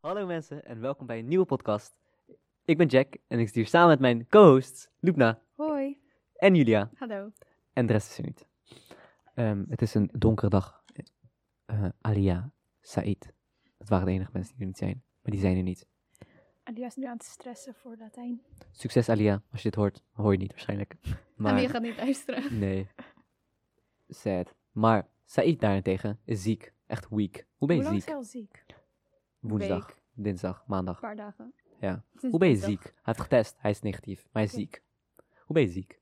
Hallo mensen en welkom bij een nieuwe podcast. Ik ben Jack en ik zit hier samen met mijn co-hosts Lubna Hoi. en Julia. Hallo. En de rest is er niet. Ehm, het is een donkere dag. Eh, Alia, Said. Dat waren de enige mensen die er niet zijn. Maar die zijn er niet. En die is nu aan het stressen voor Latijn. Succes Alia, als je dit hoort. Hoor je het niet waarschijnlijk. En die Maar, gaat niet luisteren. nee. Sad. Maar Said daarentegen is ziek. Echt weak. Hoe ben je Hoe lang is ziek? hij al ziek? Een Woensdag, week, dinsdag, maandag. paar dagen. Ja. Sinds Hoe ben je dinsdag. ziek? Hij heeft getest. Hij is negatief. Maar hij is Oké. ziek. Hoe ben je ziek?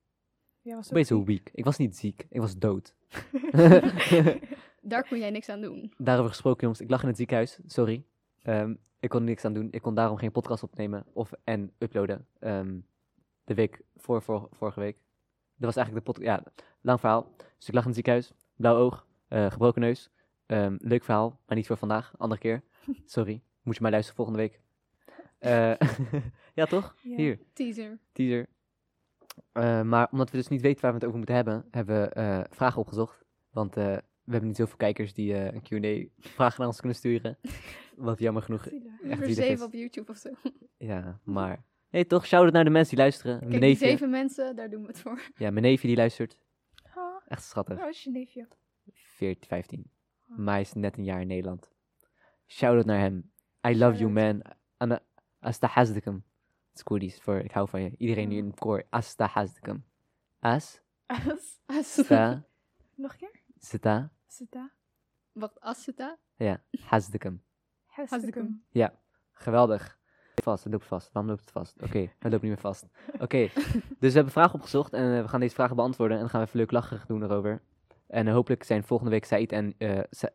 Jij was Ik ben ook zo weak. Ik was niet ziek, ik was dood. ziek. Daar kon jij niks aan doen. Daarover gesproken, jongens. Ik lag in het ziekenhuis, sorry. Ehm, ik kon er niks aan doen. Ik kon daarom geen podcast opnemen of, en uploaden. Ehm, de week voor, voor vorige week. Dat was eigenlijk de podcast. Ja, lang verhaal. Dus ik lag in het ziekenhuis, blauw oog, eh, gebroken neus. Ehm, leuk verhaal, maar niet voor vandaag. Andere keer. Sorry. Moet je maar luisteren volgende week. Eh, ja, toch? Ja. Hier Teaser. teaser. Eh, maar omdat we dus niet weten waar we het over moeten hebben, hebben we eh, vragen opgezocht. Want eh, we hebben niet zoveel kijkers die eh, een Q&A-vraag naar ons kunnen sturen. Wat jammer genoeg. Nummer zielig 7 is. op YouTube of zo. Ja, maar... Nee, toch? Shout-out naar de mensen die luisteren. Mijn Kijk, die neefje- zeven mensen, daar doen we het voor. Ja, mijn neefje die luistert. Oh, Echt schattig. is je neefje. 14, 15. Oh. Maar hij is net een jaar in Nederland. Shout-out naar hem. I love you, man. Ana astahazdikum. Het is Koerdisch voor ik hou van je. Iedereen Mm. die in het koor. Astahazdikum. As, As. sta, Nog een keer? zita, Zeta. Wacht, Asseta? Ja, Hasdekum. Hasdekum. Geweldig. Vast, het loopt vast. Waarom loopt het vast? Oké, het loopt niet meer vast. Oké, dus we hebben vragen opgezocht en eh, we gaan deze vragen beantwoorden. En dan gaan we even leuk lachen doen erover. En eh, hopelijk zijn volgende week Said en eh, Sa-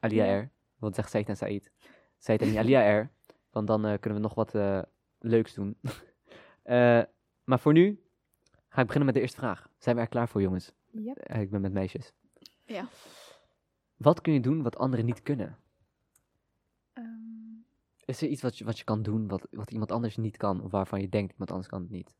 Alia Ja. er. Want zeg Said en Said. Said en Alia er. Want dan eh, kunnen we nog wat eh, leuks doen. Eh, maar voor nu ga ik beginnen met de eerste vraag. Zijn we er klaar voor, jongens? Yep. Eh, ik ben met meisjes. Ja. Wat kun je doen wat anderen niet kunnen? Ehm, Is er iets wat je, wat je kan doen wat, wat iemand anders niet kan? Of waarvan je denkt iemand anders kan het niet?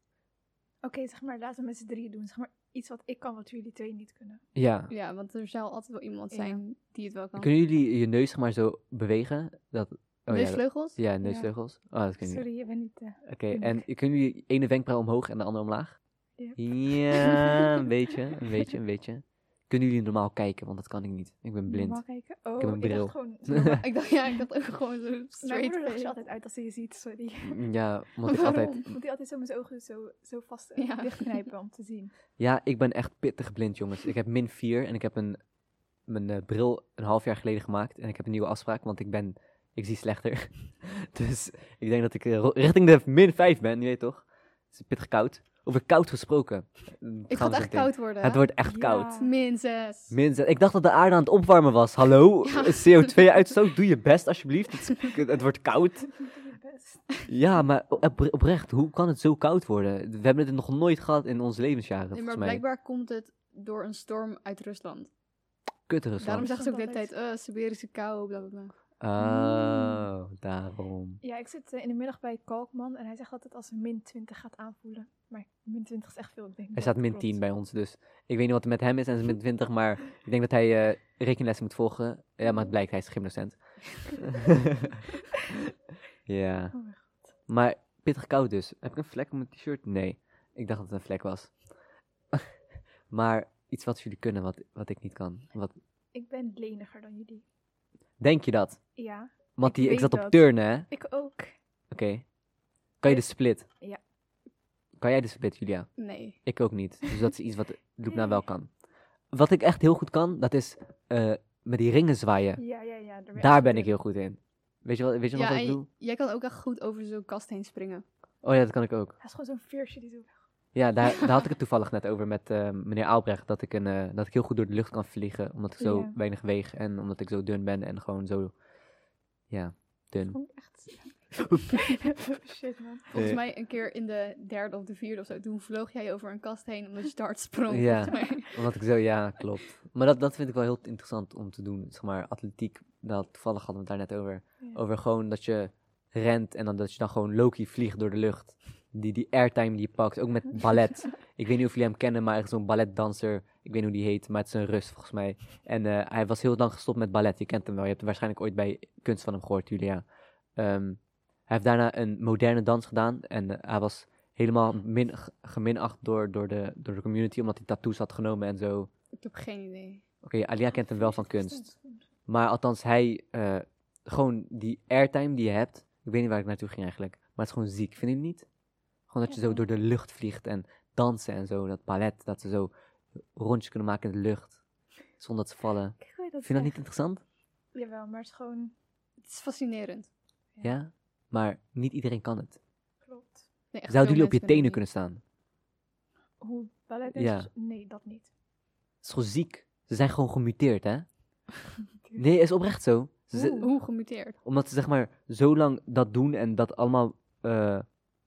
Oké, zeg maar, laten we met z'n drieën doen. Zeg maar, iets wat ik kan, wat jullie twee niet kunnen. Ja. Ja, want er zal altijd wel iemand Ja. zijn die het wel kan. Kunnen jullie je neus zeg maar zo bewegen? Dat, oh ja, dat- Neusvleugels? ja, neusvleugels. Oh, dat kun je niet. Sorry, je bent niet... eh, Oké, en kunnen jullie ene wenkbrauw omhoog en de andere omlaag? Ja. Ja, een beetje, een beetje, een beetje. Kunnen jullie normaal kijken? Want dat kan ik niet. Ik ben blind. Normaal kijken. Oh, ik heb een bril. dacht gewoon... Ik dacht, ja, ik dacht ook gewoon zo Mijn moeder legt straight. je altijd uit als ze je ziet, sorry. ja, omdat ik Waarom? altijd... Moet hij altijd zo met zijn ogen zo, zo vast eh, Ja. dichtknijpen om te zien. Ja, ik ben echt pittig blind, jongens. Ik heb min 4 en ik heb een, mijn eh, bril een half jaar geleden gemaakt. En ik heb een nieuwe afspraak, want ik ben... Ik zie slechter. dus ik denk dat ik eh, ro- richting de min 5 ben, je weet toch? Het is pittig koud. Over koud gesproken. mm, Ik ga het echt koud worden. Het wordt echt Ja. koud. Min 6. Min zes- ik dacht dat de aarde aan het opwarmen was. Hallo? Eh, Ja. CO2-uitstoot, doe je best alsjeblieft. Het, is- het wordt koud. Doe je best. Ja, maar op- oprecht, hoe kan het zo koud worden? We hebben het nog nooit gehad in onze levensjaren, Nee, volgens maar mij. blijkbaar komt het door een storm uit Rusland. Kut Rusland. Daarom zeggen ze ook de hele Rusland tijd, eh, Siberische kou, bla bla bla. Mm. Oh, daarom. Ja, ik zit eh, in de middag bij Kalkman en hij zegt altijd als ze min 20 gaat aanvoelen. Maar min 20 is echt veel, ik denk Er staat min 10 bij ons, dus ik weet niet wat er met hem is en ze min 20, maar ik denk dat hij eh, rekenlessen moet volgen. Ja, maar het blijkt, hij is gymdocent. ja. Oh mijn Maar pittig koud dus. Heb ik een vlek op mijn t-shirt? Nee, ik dacht dat het een vlek was. maar iets wat jullie kunnen, wat, wat ik niet kan. Wat, Ik ben leniger dan jullie. denk je dat? Ja, Want Ik die, ik weet zat op dat. turnen, hè? Oké. ik ook. Kan je de split? Ja. Kan jij de split, Julia? Nee. Ik ook niet. Dus dat is iets wat Lubna wel kan. Wat ik echt heel goed kan, dat is eh, met die ringen zwaaien. Ja, ja, ja. Daar ben, Daar ben ik heel goed in. Weet je, wel, weet je nog Ja, wat ik en doe? j- jij kan ook echt goed over zo'n kast heen springen. Oh ja, dat kan ik ook. Hij is gewoon zo'n veersje die zo... Ja, daar, daar had ik het toevallig net over met eh, meneer Aalbrecht. Dat ik, een, eh, dat ik heel goed door de lucht kan vliegen. Omdat ik zo Ja. weinig weeg en omdat ik zo dun ben en gewoon zo. Ja, dun. Vond ik echt... Oh, Shit, man. Volgens Eh. mij een keer in de derde of de vierde of zo, toen vloog jij over een kast heen omdat je te hard sprong. Ja. volgens mij. Omdat ik zo, ja, klopt. Maar dat, dat vind ik wel heel interessant om te doen. Zeg maar, atletiek, dat, toevallig hadden we het daar net over. Ja. Over gewoon dat je rent en dan dat je dan gewoon Loki vliegt door de lucht. Die, die airtime die je pakt, ook met ballet. ik weet niet of jullie hem kennen, maar er is zo'n balletdanser. Ik weet niet hoe die heet, maar het is een Rus volgens mij. En eh, hij was heel lang gestopt met ballet. Je kent hem wel. Je hebt hem waarschijnlijk ooit bij kunst van hem gehoord, Julia. Ehm, hij heeft daarna een moderne dans gedaan. En eh, hij was helemaal min, g- geminacht door, door, de, door de community. Omdat hij tattoos had genomen en zo. Ik heb geen idee. Oké, Alia kent hem wel van kunst. Maar althans, hij... eh, gewoon die airtime die je hebt. Ik weet niet waar ik naartoe ging eigenlijk. Maar het is gewoon ziek, vind je het niet? Gewoon dat je zo Jawel. door de lucht vliegt en dansen en zo. Dat palet, dat ze zo rondjes kunnen maken in de lucht. Zonder te vallen. Kijk hoe je dat Vind je dat niet zegt. interessant? Jawel, maar het is gewoon... Het is fascinerend. Ja. Maar niet iedereen kan het. Klopt. Nee, Zouden echt veel jullie op je tenen mensen dat kunnen niet. staan? Hoe balletdansers... Ja. Nee, dat niet. Het is gewoon ziek. Ze zijn gewoon gemuteerd, hè? Nee, is oprecht zo. Ze- ze- Oeh. Hoe gemuteerd? omdat ze zeg maar zo lang dat doen en dat allemaal eh,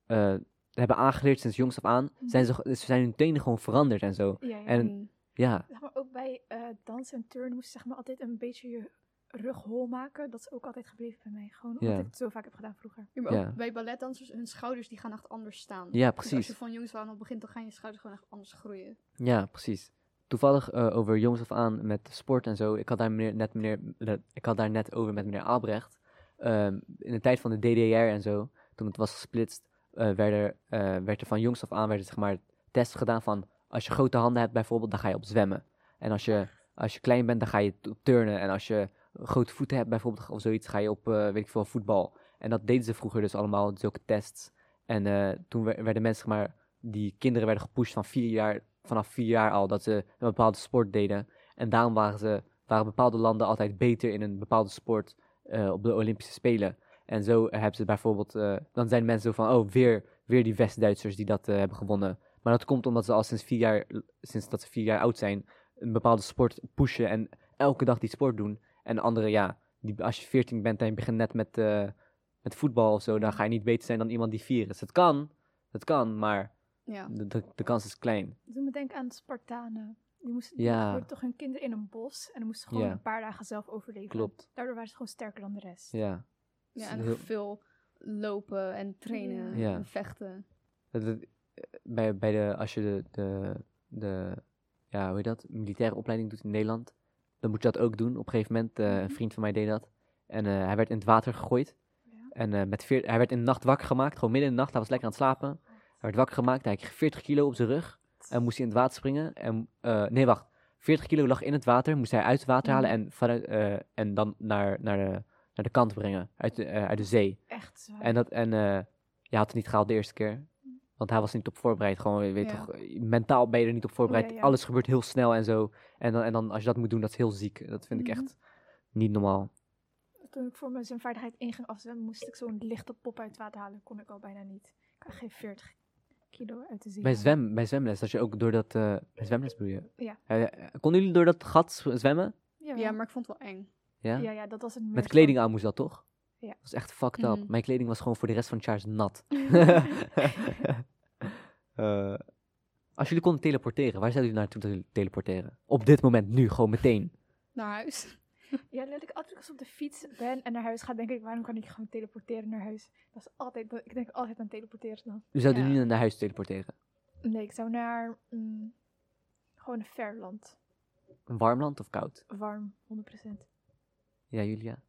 eh, hebben aangeleerd sinds jongs af aan, Mhm. zijn ze, ge- ze zijn hun tenen gewoon veranderd en zo. Ja, ja. En- Mm. Ja, Zeg maar ook bij eh dansen en turnen moest je zeg maar altijd een beetje je rug hol maken. Dat is ook altijd gebleven bij mij. Gewoon omdat Ja. ik het zo vaak heb gedaan vroeger. Ja, maar Ja. ook bij balletdansers, hun schouders die gaan echt anders staan. ja, Dus als je precies. van jongs af aan al begint, dan gaan je schouders gewoon echt anders groeien. Ja, precies. Toevallig eh, over jongs af aan met sport en zo. Ik had daar, meneer, net, meneer, le- ik had daar net over met meneer Abrecht. Ehm, in de tijd van de DDR en zo, toen het was gesplitst, eh, werd, er, eh, werd er van jongs af aan werd er, zeg maar, test gedaan van... Als je grote handen hebt bijvoorbeeld, dan ga je op zwemmen. En als je, als je klein bent, dan ga je t- op turnen. En als je grote voeten hebt bijvoorbeeld of zoiets, ga je op, eh, weet ik veel, voetbal. En dat deden ze vroeger dus allemaal, zulke tests. En eh, toen wer- werden mensen, zeg maar, die kinderen werden gepusht van vier jaar, vanaf vier jaar al dat ze een bepaalde sport deden. En daarom waren, ze, waren bepaalde landen altijd beter in een bepaalde sport eh, op de Olympische Spelen. En zo hebben ze bijvoorbeeld, eh, dan zijn mensen zo van, oh, weer, weer die West-Duitsers die dat eh, hebben gewonnen. Maar dat komt omdat ze al sinds, vier jaar, sinds dat ze vier jaar oud zijn, een bepaalde sport pushen en elke dag die sport doen. En anderen, ja, die, als je veertien bent en je begint net met, eh, met voetbal of zo, dan ga je niet beter zijn dan iemand die vier is. Het kan, het kan, maar Ja. de, de, de kans is klein. Dat doet me denken aan de Spartanen. Die moesten Ja. die gooiden toch hun kinderen in een bos. En dan moesten ze gewoon Ja. een paar dagen zelf overleven. Klopt. Daardoor waren ze gewoon sterker dan de rest. Ja. ja, is en heel- veel lopen en trainen Ja. en vechten. Dat het, eh, bij, bij de, als je de, de, de ja, hoe heet dat, militaire opleiding doet in Nederland, dan moet je dat ook doen. Op een gegeven moment, eh, een Mhm. vriend van mij deed dat. En eh, hij werd in het water gegooid. Ja. En eh, met veer- hij werd in de nacht wakker gemaakt, gewoon midden in de nacht. Hij was lekker aan het slapen. Hij werd wakker gemaakt, hij kreeg 40 kilo op zijn rug. En moest hij in het water springen. En, eh, nee, wacht. 40 kilo lag in het water, moest hij uit het Mhm. water halen en, vanuit, eh, en dan naar, naar, de, naar de kant brengen, uit de, eh, uit de zee. Echt zwaar. En, dat, en eh, je had het niet gehaald de eerste keer. Want hij was niet op voorbereid. Gewoon, je weet Ja. toch, eh, mentaal ben je er niet op voorbereid. Ja, ja. Alles gebeurt heel snel en zo. En dan, en dan als je dat moet doen, dat is heel ziek. Dat vind ik Mhm. echt niet normaal. Toen ik voor mijn zwemvaardigheid in ging afzwemmen, moest ik zo'n lichte pop uit het water halen. Kon ik al bijna niet. Ik had geen 40 kilo uit de zee. Bij, halen. zwem, bij zwemles, dat je ook door dat... eh, bij zwemles bedoel je? Ja. Eh, eh, konden jullie door dat gat z- zwemmen? Jawel. Ja, maar ik vond het wel eng. Ja? Ja, ja, dat was het meer Met zo. kleding aan moest dat, toch? Ja. Dat was echt fucked up. Mhm. Mijn kleding was gewoon voor de rest van het jaar is nat. Eh, als jullie konden teleporteren, waar zouden jullie naartoe tele- teleporteren? Op dit moment, nu, gewoon meteen. Naar huis. Ja, letterlijk altijd als ik op de fiets ben en naar huis ga, denk ik, waarom kan ik gewoon teleporteren naar huis? Dat is altijd, dat- ik denk altijd aan teleporteren dan. U zou Ja. Dus nu naar huis teleporteren. Nee, ik zou naar mm, gewoon een ver land. Een warm land of koud? Warm, 100%. Ja, Julia.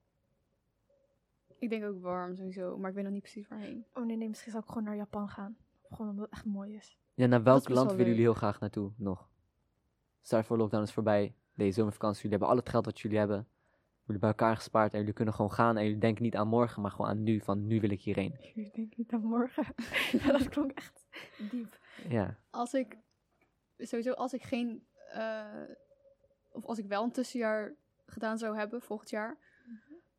Ik denk ook warm sowieso, maar ik weet nog niet precies waarheen. Oh nee, nee, misschien zou ik gewoon naar Japan gaan. Gewoon omdat het echt mooi is. Ja, naar is welk best land wel willen jullie leuk. heel graag naartoe nog? Start voor lockdown is voorbij. Deze zomervakantie. Jullie hebben al het geld wat jullie hebben. Jullie bij elkaar gespaard en jullie kunnen gewoon gaan. En jullie denken niet aan morgen, maar gewoon aan nu. Van nu wil ik hierheen. Ik denk niet aan morgen. ja, dat klonk echt diep. Ja. Als ik sowieso, als ik geen, eh, of als ik wel een tussenjaar gedaan zou hebben volgend jaar,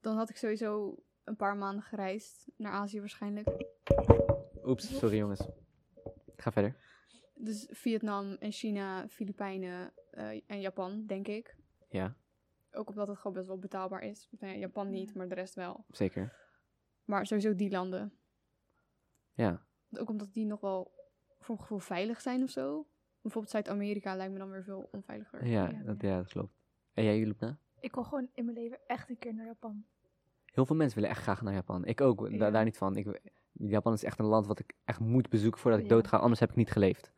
dan had ik sowieso een paar maanden gereisd naar Azië waarschijnlijk. Oeps, sorry jongens. Ik ga verder. Dus Vietnam en China, Filipijnen eh, en Japan, denk ik. Ja, Ook omdat het gewoon best wel betaalbaar is. Nou ja, Japan niet, maar de rest wel. zeker. Maar sowieso die landen. Ja. Ook omdat die nog wel voor mijn gevoel veilig zijn of zo. Bijvoorbeeld Zuid-Amerika lijkt me dan weer veel onveiliger. Ja, Ja, dat, ja, dat klopt. En jij, nou? Julipna? Ik wil gewoon in mijn leven echt een keer naar Japan. Heel veel mensen willen echt graag naar Japan. Ik ook, da- Ja. daar niet van. Ik, Japan is echt een land wat ik echt moet bezoeken voordat ik Ja. Oh. doodga. Anders heb ik niet geleefd.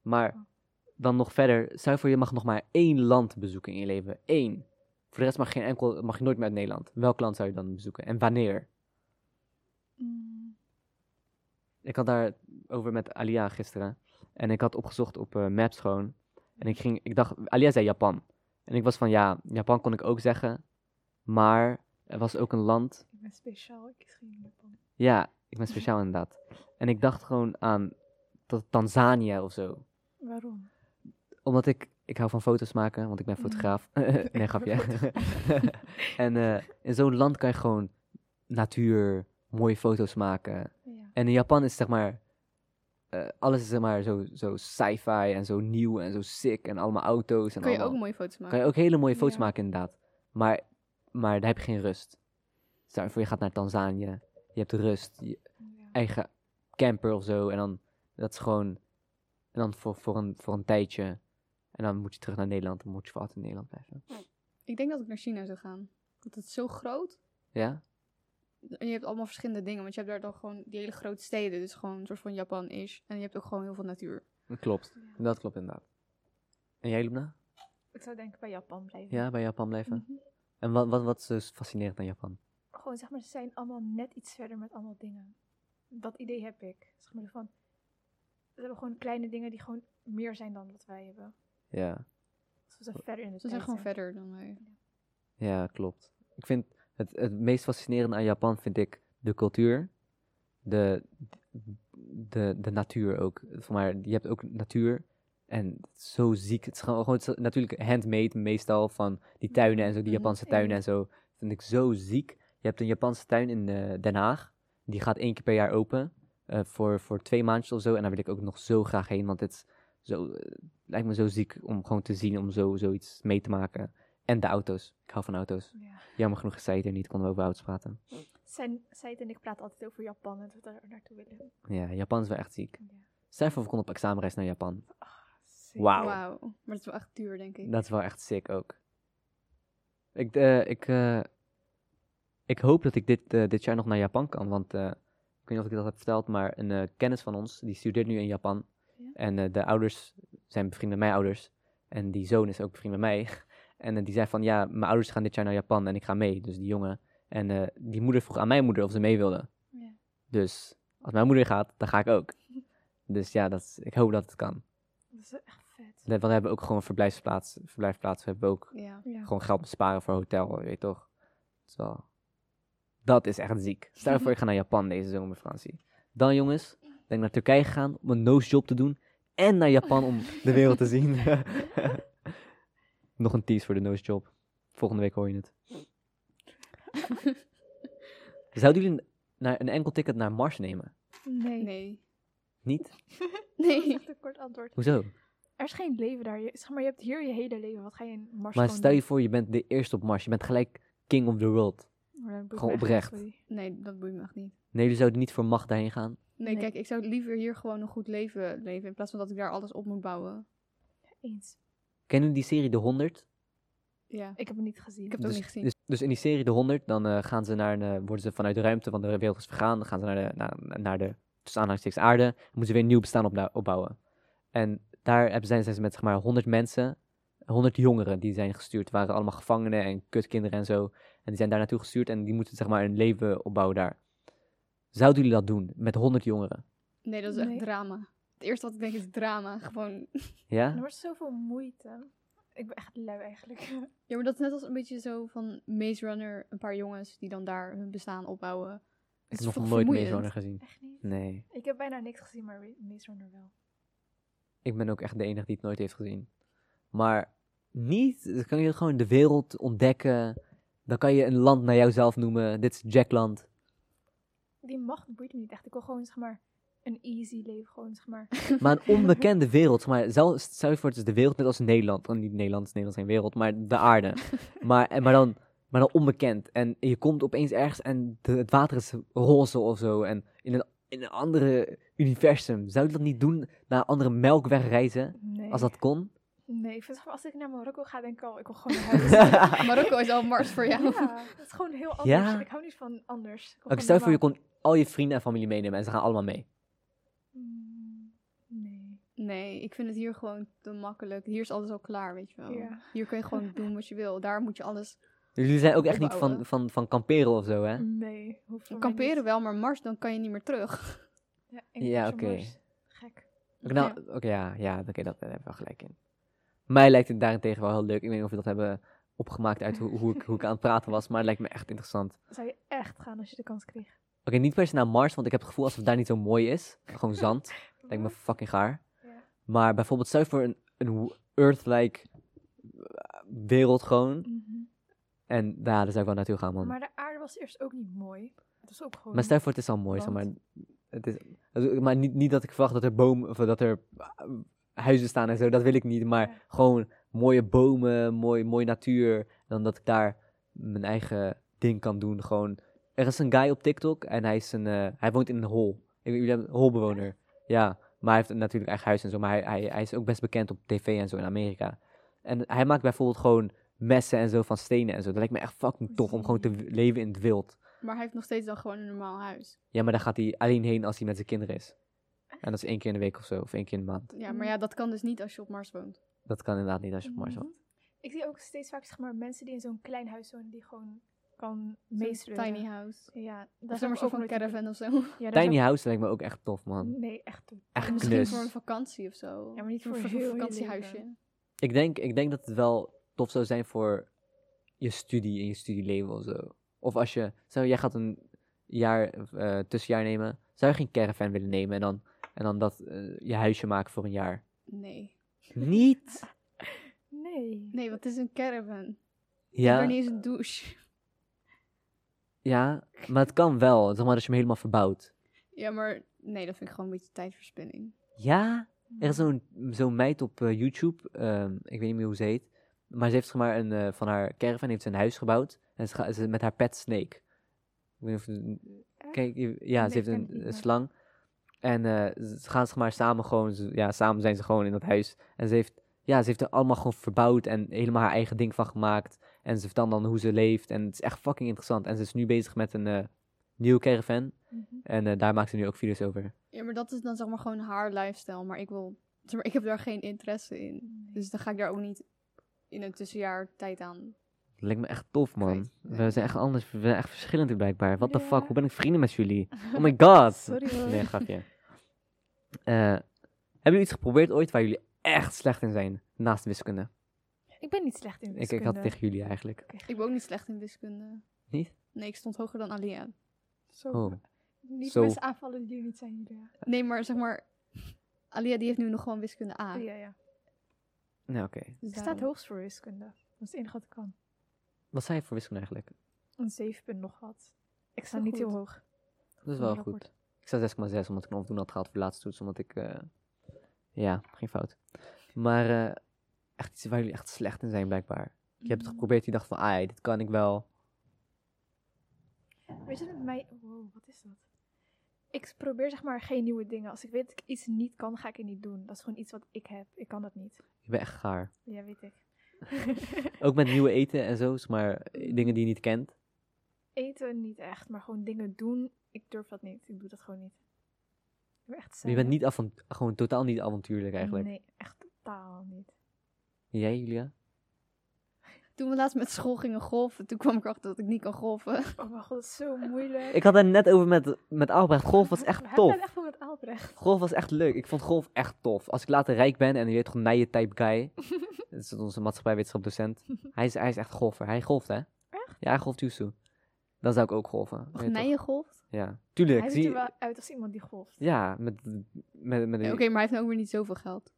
Maar Ja. dan nog verder. Stel je voor, je mag nog maar één land bezoeken in je leven. Eén. Voor de rest mag, geen enkel, mag je nooit meer uit Nederland. Welk land zou je dan bezoeken? En wanneer? Mm, ik had daar over met Alia gisteren. En ik had opgezocht op eh, Maps gewoon. En ik, ging, ik dacht, Alia zei Japan. En ik was van, ja, Japan kon ik ook zeggen. Maar er was ook een land. Ik ben speciaal, ik kies geen Japan. Ja, ik ben speciaal inderdaad. En ik dacht gewoon aan Ta- Tanzania of zo. Waarom? Omdat ik, ik hou van foto's maken, want ik Mm. ben fotograaf. nee, grapje. en eh, in zo'n land kan je gewoon natuur, mooie foto's maken. Ja. En in Japan is zeg maar, eh, alles is zeg maar zo, zo sci-fi en zo nieuw en zo sick en allemaal auto's. En Kan je ook allemaal- mooie foto's maken. kan je ook hele mooie foto's Ja. maken inderdaad. Maar, maar daar heb je geen rust. Stel je voor je gaat naar Tanzania, je hebt rust, je Ja. eigen camper of zo. En dan, dat is gewoon, en dan voor, voor, een, voor een tijdje. En dan moet je terug naar Nederland, dan moet je voor altijd in Nederland blijven. Ik denk dat ik naar China zou gaan. Want het is zo groot. Ja? En je hebt allemaal verschillende dingen. Want je hebt daar dan gewoon die hele grote steden. Dus gewoon een soort van Japan is. En je hebt ook gewoon heel veel natuur. Dat klopt. Ja. Dat klopt inderdaad. En jij, Lubna? Ik zou denk ik bij Japan blijven. Mhm. Ja, bij Japan blijven? En wat, wat, wat is dus fascinerend aan Japan? Gewoon zeg maar, ze zijn allemaal net iets verder met allemaal dingen. Dat idee heb ik. Zeg maar van, ze hebben gewoon kleine dingen die gewoon meer zijn dan wat wij hebben. Ja. Dus we zijn verder in de Ze zijn tijd gewoon verder dan wij. Ja, klopt. Ik vind het, het meest fascinerende aan Japan vind ik de cultuur, de, de, de natuur ook. Van maar, je hebt ook natuur en het is zo ziek. Het is gewoon, gewoon het is natuurlijk handmade meestal van die tuinen en zo, die Mhm. Japanse tuinen en zo. Vind ik zo ziek. Je hebt een Japanse tuin in eh, Den Haag. Die gaat één keer per jaar open. eh, voor, voor twee maandjes of zo. En daar wil ik ook nog zo graag heen. Want het is zo, eh, lijkt me zo ziek om gewoon te zien. Om zo, zoiets mee te maken. En de auto's. Ik hou van auto's. Ja. Jammer genoeg is zij er niet. Konden we over auto's praten. Zijn, Said en ik praten altijd over Japan en dat we daar naartoe willen. Ja, Japan is wel echt ziek. Ja. Stel je voor we konden op examenreis naar Japan. Zeker. Wauw. Wauw. Maar dat is wel echt duur, denk ik. Dat is wel echt sick ook. Ik, eh, ik, eh, ik hoop dat ik dit, eh, dit jaar nog naar Japan kan. Want eh, ik weet niet of ik dat heb verteld, maar een eh, kennis van ons die studeert nu in Japan. Ja. En eh, de ouders zijn bevriend met mijn ouders. En die zoon is ook bevriend met mij. En eh, die zei van ja, mijn ouders gaan dit jaar naar Japan en ik ga mee. Dus die jongen. En eh, die moeder vroeg aan mijn moeder of ze mee wilde. Ja. Dus als mijn moeder gaat, dan ga ik ook. Dus ja, dat is, ik hoop dat het kan. Dat is echt vet. Want we hebben ook gewoon een verblijfsplaats. verblijfplaats. We hebben ook Ja. Ja. gewoon geld besparen voor hotel, je weet toch? Dat is wel... Dat is echt ziek. Stel je voor, ik ga naar Japan deze zomervakantie. Dan jongens, ben ik naar Turkije gegaan om een nose job te doen. En naar Japan om de wereld te zien. Nog een tease voor de nose job. Volgende week hoor je het. Zouden jullie naar een enkel ticket naar Mars nemen? Nee. Nee. Niet? Dat is Nee. echt een kort antwoord. Hoezo? Er is geen leven daar. Je, zeg maar, je hebt hier je hele leven. Wat ga je in Mars Maar gewoon stel je doen? voor, je bent de eerste op Mars. Je bent gelijk king of the world. Maar dat boeit gewoon me echt oprecht. niet, sorry. Nee, dat boeit me echt niet. Nee, jullie zouden niet voor macht daarheen gaan. Nee, Nee. kijk, ik zou liever hier gewoon een goed leven leven. In plaats van dat ik daar alles op moet bouwen. Eens. Kennen jullie die serie De 100? Ja. Ik heb het niet gezien. Ik heb het dus, ook niet gezien. Dus, dus in die serie De 100, dan eh, gaan ze naar een, eh, worden ze vanuit de ruimte van de wereld is vergaan. Dan gaan ze naar de, naar, naar de tussen aanhalingstekens aarde. Dan moeten ze weer een nieuw bestaan opna- opbouwen. En daar hebben- zijn, zijn ze met zeg maar 100 mensen, 100 jongeren die zijn gestuurd. waren allemaal gevangenen en kutkinderen en zo. En die zijn daar naartoe gestuurd en die moeten zeg maar een leven opbouwen daar. Zouden jullie dat doen met 100 jongeren? Nee, dat is echt Nee. drama. Het eerste wat ik denk is drama. Gewoon. Ja? Er wordt zoveel moeite. Ik ben echt lui eigenlijk. Ja, maar dat is net als een beetje zo van Maze Runner. Een paar jongens die dan daar hun bestaan opbouwen. Ik is heb toch nog nooit meer vermoeiend? zo'n gezien. Echt niet. Nee. Ik heb bijna niks gezien, maar Ra- Maze Runner wel. Ik ben ook echt de enige die het nooit heeft gezien. Maar niet, dan kan je gewoon de wereld ontdekken. Dan kan je een land naar jouzelf noemen. Dit is Jackland. Die macht boeit me niet echt. Ik wil gewoon, zeg maar, een easy leven. Gewoon, zeg maar. Maar een onbekende wereld. zeg Maar zelf, stel je voor, het is de wereld net als Nederland. Oh, niet Nederland, Nederland is geen wereld, maar de aarde. Maar, en- maar, dan, maar dan onbekend. En je komt opeens ergens en de- het water is roze of zo. En in een, in een andere universum. Zou je dat niet doen? Naar een andere melkweg reizen? Nee. Als dat kon? Nee, ik vind, zeg maar, als ik naar Marokko ga, denk ik al, ik wil gewoon naar huis. Marokko is al Mars voor jou. Ja, dat is gewoon heel anders. Ja. Ik hou niet van anders. Ik wil Oké, gewoon stel je voor, je normaal. kon al je vrienden en familie meenemen en ze gaan allemaal mee. Mm, Nee. Nee, ik vind het hier gewoon te makkelijk. Hier is alles al klaar, weet je wel. Ja. Hier kun je gewoon doen wat je wil. Daar moet je alles. Dus jullie zijn ook Mm, echt niet van, Opbouwen. van, van kamperen of zo, hè? Nee. Hoeft voor mij Kamperen niet. wel, maar Mars, dan kan je niet meer terug. Ja, en Ja, Action oké. Wars. Gek. Oké, nou, oké, ja, ja oké, dat, daar hebben we wel gelijk in. Mij lijkt het daarentegen wel heel leuk. Ik weet niet of we dat hebben opgemaakt uit hoe, hoe, ik, hoe ik aan het praten was, maar het lijkt me echt interessant. Oké, Zou je echt gaan als je de kans kreeg? niet per se naar Mars, want ik heb het gevoel alsof het daar niet zo mooi is. Gewoon zand. lijkt me fucking gaar. Ja. Maar bijvoorbeeld, stel je voor een, een Earth-like wereld gewoon. Mhm. En nou, daar zou ik wel naartoe gaan, man. Maar, Maar de aarde was eerst ook niet mooi. Het was ook gewoon... stel je voor, het is al mooi, zeg maar. Want- Het is, het- maar niet, niet dat ik verwacht dat er bomen, of dat er ah, huizen staan en zo, dat wil ik niet. Maar Ja. gewoon mooie bomen, mooi, mooie natuur. En dan dat ik daar mijn eigen ding kan doen. Gewoon, er is een guy op TikTok en hij, is een, eh, hij woont in een hol. Ik, jullie hebben een holbewoner. Ja, maar hij heeft natuurlijk eigen huis en zo. Maar hij, hij, hij is ook best bekend op tv en zo in Amerika. En hij maakt bijvoorbeeld gewoon messen en zo van stenen en zo. Dat lijkt me echt fucking tof om gewoon te w- leven in het wild. Maar hij heeft nog steeds dan gewoon een normaal huis. Ja, maar daar gaat hij alleen heen als hij met zijn kinderen is. En dat is één keer in de week of zo, of één keer in de maand. Ja, Mhm. maar ja, dat kan dus niet als je op Mars woont. Dat kan inderdaad niet als je op Mhm. Mars woont. Mhm. Ik zie ook steeds vaak zeg maar, mensen die in zo'n klein huis wonen die gewoon kan Zo'n meesleuren. tiny house. Ja, dat Dat is maar zo van caravan of zo. Ja, daar Tiny zou- House lijkt me ook echt tof, man. Nee, echt toe. Echt Misschien knus. voor een vakantie of zo. Ja, maar niet Voor- voor voor zo'n heel je vakantiehuisje. Ik denk, ik denk dat het wel tof zou zijn voor je studie en je studieleven of zo. Of als je, stel jij gaat een jaar, eh, tussenjaar nemen, zou je geen caravan willen nemen en dan, en dan dat eh, je huisje maken voor een jaar? Nee. Niet! Nee. Nee, want het is een caravan. Ja. Ja, niet eens een douche. ja, maar het kan wel, zeg maar als je hem helemaal verbouwt. Ja, maar nee, dat vind ik gewoon een beetje tijdverspilling. Ja, Er is zo'n zo'n meid op eh, YouTube, ehm, ik weet niet meer hoe ze heet. Maar ze heeft zeg maar een, eh, van haar caravan heeft ze een huis gebouwd. En ze gaat ze, met haar pet Snake. Ik weet niet of je- Echt? kijk, je- ja, Nee, ze heeft ken ik een, eh, niet, maar- slang. En eh, ze ze gaan zeg maar samen gewoon, ze- ja, samen zijn ze gewoon in dat huis. En ze heeft, ja, ze heeft er allemaal gewoon verbouwd en helemaal haar eigen ding van gemaakt. En ze vertelt dan hoe ze leeft. En het is echt fucking interessant. En ze is nu bezig met een eh, nieuwe caravan. Mhm. En eh, daar maakt ze nu ook video's over. Ja, maar dat is dan zeg maar gewoon haar lifestyle. Maar ik wil... zeg maar, ik heb daar geen interesse in. Nee. Dus dan ga ik daar ook niet in een tussenjaar tijd aan. Dat lijkt me echt tof, man. Kwijt. We zijn echt anders. We zijn echt verschillend blijkbaar. What the fuck? Ja. Hoe ben ik vrienden met jullie? Oh my god. Sorry, hoor. Nee, grapje. Eh, hebben jullie iets geprobeerd ooit waar jullie echt slecht in zijn? Naast wiskunde. Ik ben niet slecht in Ik, wiskunde. ik had het tegen jullie eigenlijk. Ik ben ook niet slecht in wiskunde. Niet? Nee, ik stond hoger dan Alia. Zo. Oh. Niet Zo. mensen aanvallen die er niet zijn, Julia. Nee, maar zeg maar... Alia die heeft nu nog gewoon wiskunde A. Ja, ja. Nou, oké. Dus Ze staat daarom. hoogst voor wiskunde. Dat is het enige wat ik kan. Wat zei je voor wiskunde eigenlijk? Een 7 punt nog wat. Ik sta Zo niet heel goed. hoog. Dat is Voor wel mijn goed. rapport. Ik sta 6,6 omdat ik een onvoldoende had gehaald voor de laatste toets. Omdat ik... eh, ja, geen fout. Maar eh, echt iets waar jullie echt slecht in zijn blijkbaar. Je hebt Mm. Mhm. het geprobeerd. Je dacht van, ai, dit kan ik wel. Weet je, wat met mij... Wow, wat is dat? Ik probeer zeg maar geen nieuwe dingen. Als ik weet dat ik iets niet kan, ga ik het niet doen. Dat is gewoon iets wat ik heb. Ik kan dat niet. Je bent echt gaar. Ja, weet ik. Ook met nieuwe eten en zo, zeg maar eh, dingen die je niet kent. Eten niet echt, maar gewoon dingen doen. Ik durf dat niet. Ik doe dat gewoon niet. Ik ben echt Je bent niet avon- gewoon totaal niet avontuurlijk eigenlijk. Nee, echt totaal niet. Jij, Julia? Toen we laatst met school gingen golfen, toen kwam ik erachter dat ik niet kan golfen. Oh mijn god, dat is zo moeilijk. Ik had het net over met, met Albrecht. Golf was We echt hebben het tof. echt van met Albrecht. Golf was echt leuk. Ik vond golf echt tof. Als ik later rijk ben en je weet gewoon je type guy. dat is onze maatschappijwetenschapdocent. Hij is, hij is echt golfer. Hij golft, hè? Echt? Ja, hij golft Yusu. Dan zou ik ook golfen. Weet Wacht, je toch? Nijen golft? Ja, Hij tuurlijk. ziet Zie... er wel uit als iemand die golft. Ja, met, met, met Ja, Oké, maar hij heeft nou ook weer niet zoveel geld.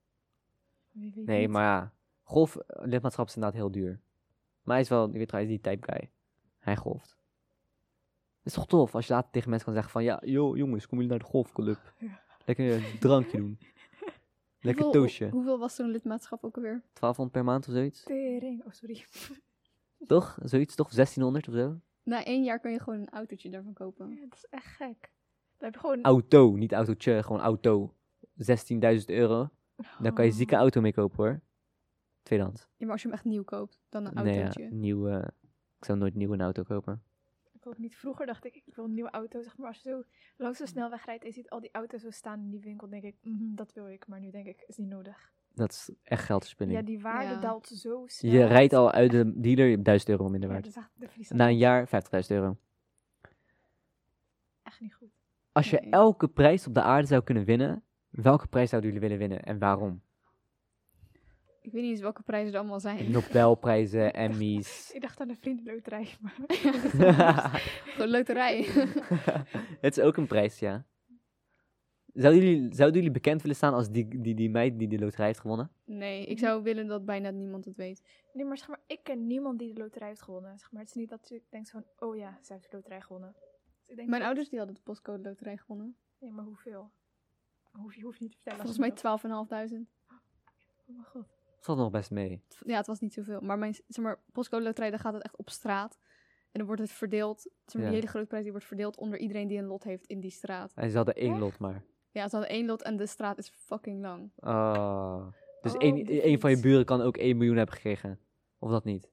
Wie weet Nee, niet. maar ja. Golf, eh, lidmaatschap is inderdaad heel duur. Maar hij is wel, je weet toch, hij is die type guy. Hij golft. Het is toch tof als je later tegen mensen kan zeggen van... Ja, joh, jongens, kom jullie naar de golfclub? Ja. Lekker een drankje doen. Lekker Hoeveel- toosje. hoe- hoeveel was zo'n lidmaatschap ook alweer? 1200 per maand of zoiets. Tering. Oh, sorry. Toch? Zoiets, toch? 1600 of zo? Na één jaar kan je gewoon een autootje daarvan kopen. Ja, dat is echt gek. Dan heb je gewoon... Auto, niet autootje, gewoon auto. 16.000 euro. Daar kan je Oh. zieke auto mee kopen, hoor. Tweedehands. Ja, maar als je hem echt nieuw koopt, dan een Nee, ja, autootje. nieuw... eh, ik zou nooit nieuw een auto kopen. Ik ook niet. Vroeger dacht ik, ik wil een nieuwe auto. Zeg maar als je zo langs Mm. de snelweg rijdt en je ziet al die auto's zo staan in die winkel, denk ik, mhm, dat wil ik. Maar nu denk ik, is niet nodig. Dat is echt geldverspilling. Ja, die waarde Ja. daalt zo snel. Je rijdt al uit de dealer, je hebt 1000 euro minder Ja, waard. dat is echt, dat is Na een jaar 50.000 euro. echt niet goed. Als je Nee. elke prijs op de aarde zou kunnen winnen, welke prijs zouden jullie willen winnen en waarom? Ik weet niet eens welke prijzen er allemaal zijn. Nobelprijzen, Emmys. Ik dacht aan een vriendenloterij, maar... Gewoon loterij. het is ook een prijs, ja. Zouden jullie, zouden jullie bekend willen staan als die, die, die meid die de loterij heeft gewonnen? nee, ik zou willen dat bijna niemand het weet. Nee, maar zeg maar, ik ken niemand die de loterij heeft gewonnen. Zeg maar, het is niet dat je denkt van, oh ja, ze heeft de loterij gewonnen. Dus ik denk, Mijn ouders die hadden de postcode loterij gewonnen. Nee, maar hoeveel? Hoef je hoeft niet te vertellen. als Volgens mij je 12.500. wil. Oh mijn god. Dat valt nog best mee. Ja, het was niet zoveel. Maar mijn zeg maar, postcode loterij, dan gaat het echt op straat. En dan wordt het verdeeld. Zeg maar, Ja. Die hele grote prijs die wordt verdeeld onder iedereen die een lot heeft in die straat. En ze hadden één Echt? lot maar. Ja, ze hadden één lot en de straat is fucking lang. Ah. Dus Oh, één, die één van je fiets. buren kan ook 1 miljoen hebben gekregen. Of dat niet?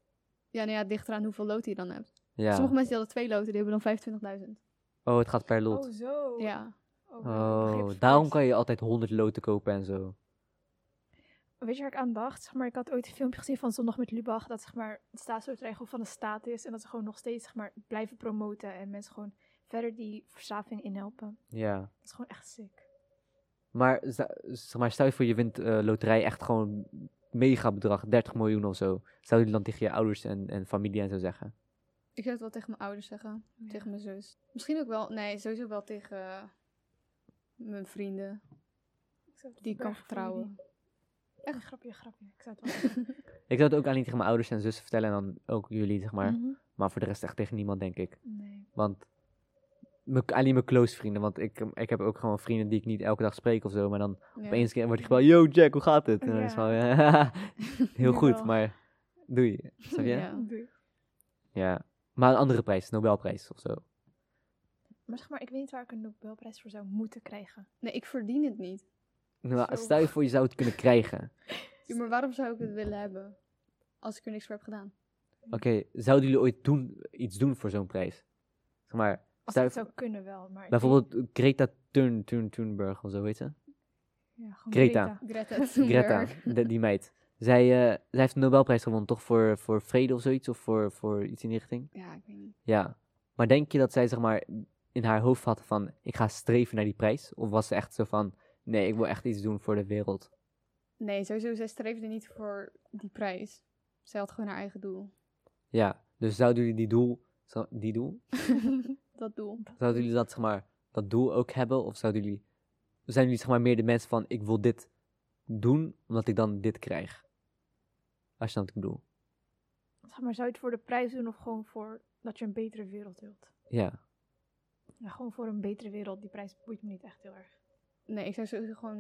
Ja, nou ja, dicht eraan hoeveel loten je dan hebt. Ja. Sommige mensen die hadden twee loten, die hebben dan 25.000. Oh, het gaat per lot. Oh, zo. Ja. Oh, Oh, daarom kan je altijd 100 loten kopen en zo. Weet je waar ik aan dacht? Zeg maar, ik had ooit een filmpje gezien van Zondag met Lubach. Dat zeg maar, het staatsloterij gewoon van de staat is. En dat ze gewoon nog steeds zeg maar, blijven promoten. En mensen gewoon verder die verslaving inhelpen. Ja. Dat is gewoon echt sick. Maar, za- zeg maar stel je voor je wint eh, loterij echt gewoon mega bedrag, 30 miljoen of zo. Zou je dan tegen je ouders en, en familie en zo zeggen? Ik zou het wel tegen mijn ouders zeggen. Ja. Tegen mijn zus. Misschien ook wel, nee, sowieso wel tegen eh, mijn vrienden. Ik zou het Die ik kan verbergen voor jullie. vertrouwen. Echt een grapje, een grapje. Ik zou het wel zeggen. Ik zou het ook alleen tegen mijn ouders en zussen vertellen en dan ook jullie, zeg maar. Mhm. Maar voor de rest echt tegen niemand, denk ik. Nee. Want mijn- alleen mijn close vrienden, want ik, ik heb ook gewoon vrienden die ik niet elke dag spreek of zo. Maar dan Ja. opeens keer wordt ik gebeld, yo Jack, hoe gaat het? En dan is het Ja. van, ja, heel goed, Jawel. maar doei. Snap je? Ja. Ja. Doei. Maar een andere prijs, Nobelprijs of zo. Maar zeg maar, ik weet niet waar ik een Nobelprijs voor zou moeten krijgen. Nee, ik verdien het niet. Nou, Zo. stel je voor, je zou het kunnen krijgen. Ja, maar waarom zou ik het willen hebben? Als ik er niks voor heb gedaan. Oké, zouden jullie ooit doen, iets doen voor zo'n prijs? Zeg maar, stel Als ik je het voor- zou kunnen wel, maar... ik bijvoorbeeld Greta Thun, Thun, Thunberg of zo, weet ze? weet- ja, gewoon Greta. Greta Greta, Thunberg. de- die meid. Zij, eh, zij heeft de Nobelprijs gewonnen, toch? Voor, voor vrede of zoiets? Of voor, voor iets in die richting? Ja, ik weet niet. Ja. Maar denk je dat zij, zeg maar, in haar hoofd had van... Ik ga streven naar die prijs? Of was ze echt zo van... Nee, ik wil echt iets doen voor de wereld. Nee, sowieso, zij streefde niet voor die prijs. Zij had gewoon haar eigen doel. Ja. Dus zouden jullie die doel... zo- Die doel? dat doel. Zouden jullie dat, zeg maar, dat doel ook hebben? Of zouden jullie... Zijn jullie, zeg maar, meer de mensen van... Ik wil dit doen, omdat ik dan dit krijg? Als je dan wat ik bedoel. Zeg maar, zou je het voor de prijs doen of gewoon voor dat je een betere wereld wilt? Ja. Ja, gewoon voor een betere wereld. Die prijs boeit me niet echt heel erg. Nee, ik zou sowieso gewoon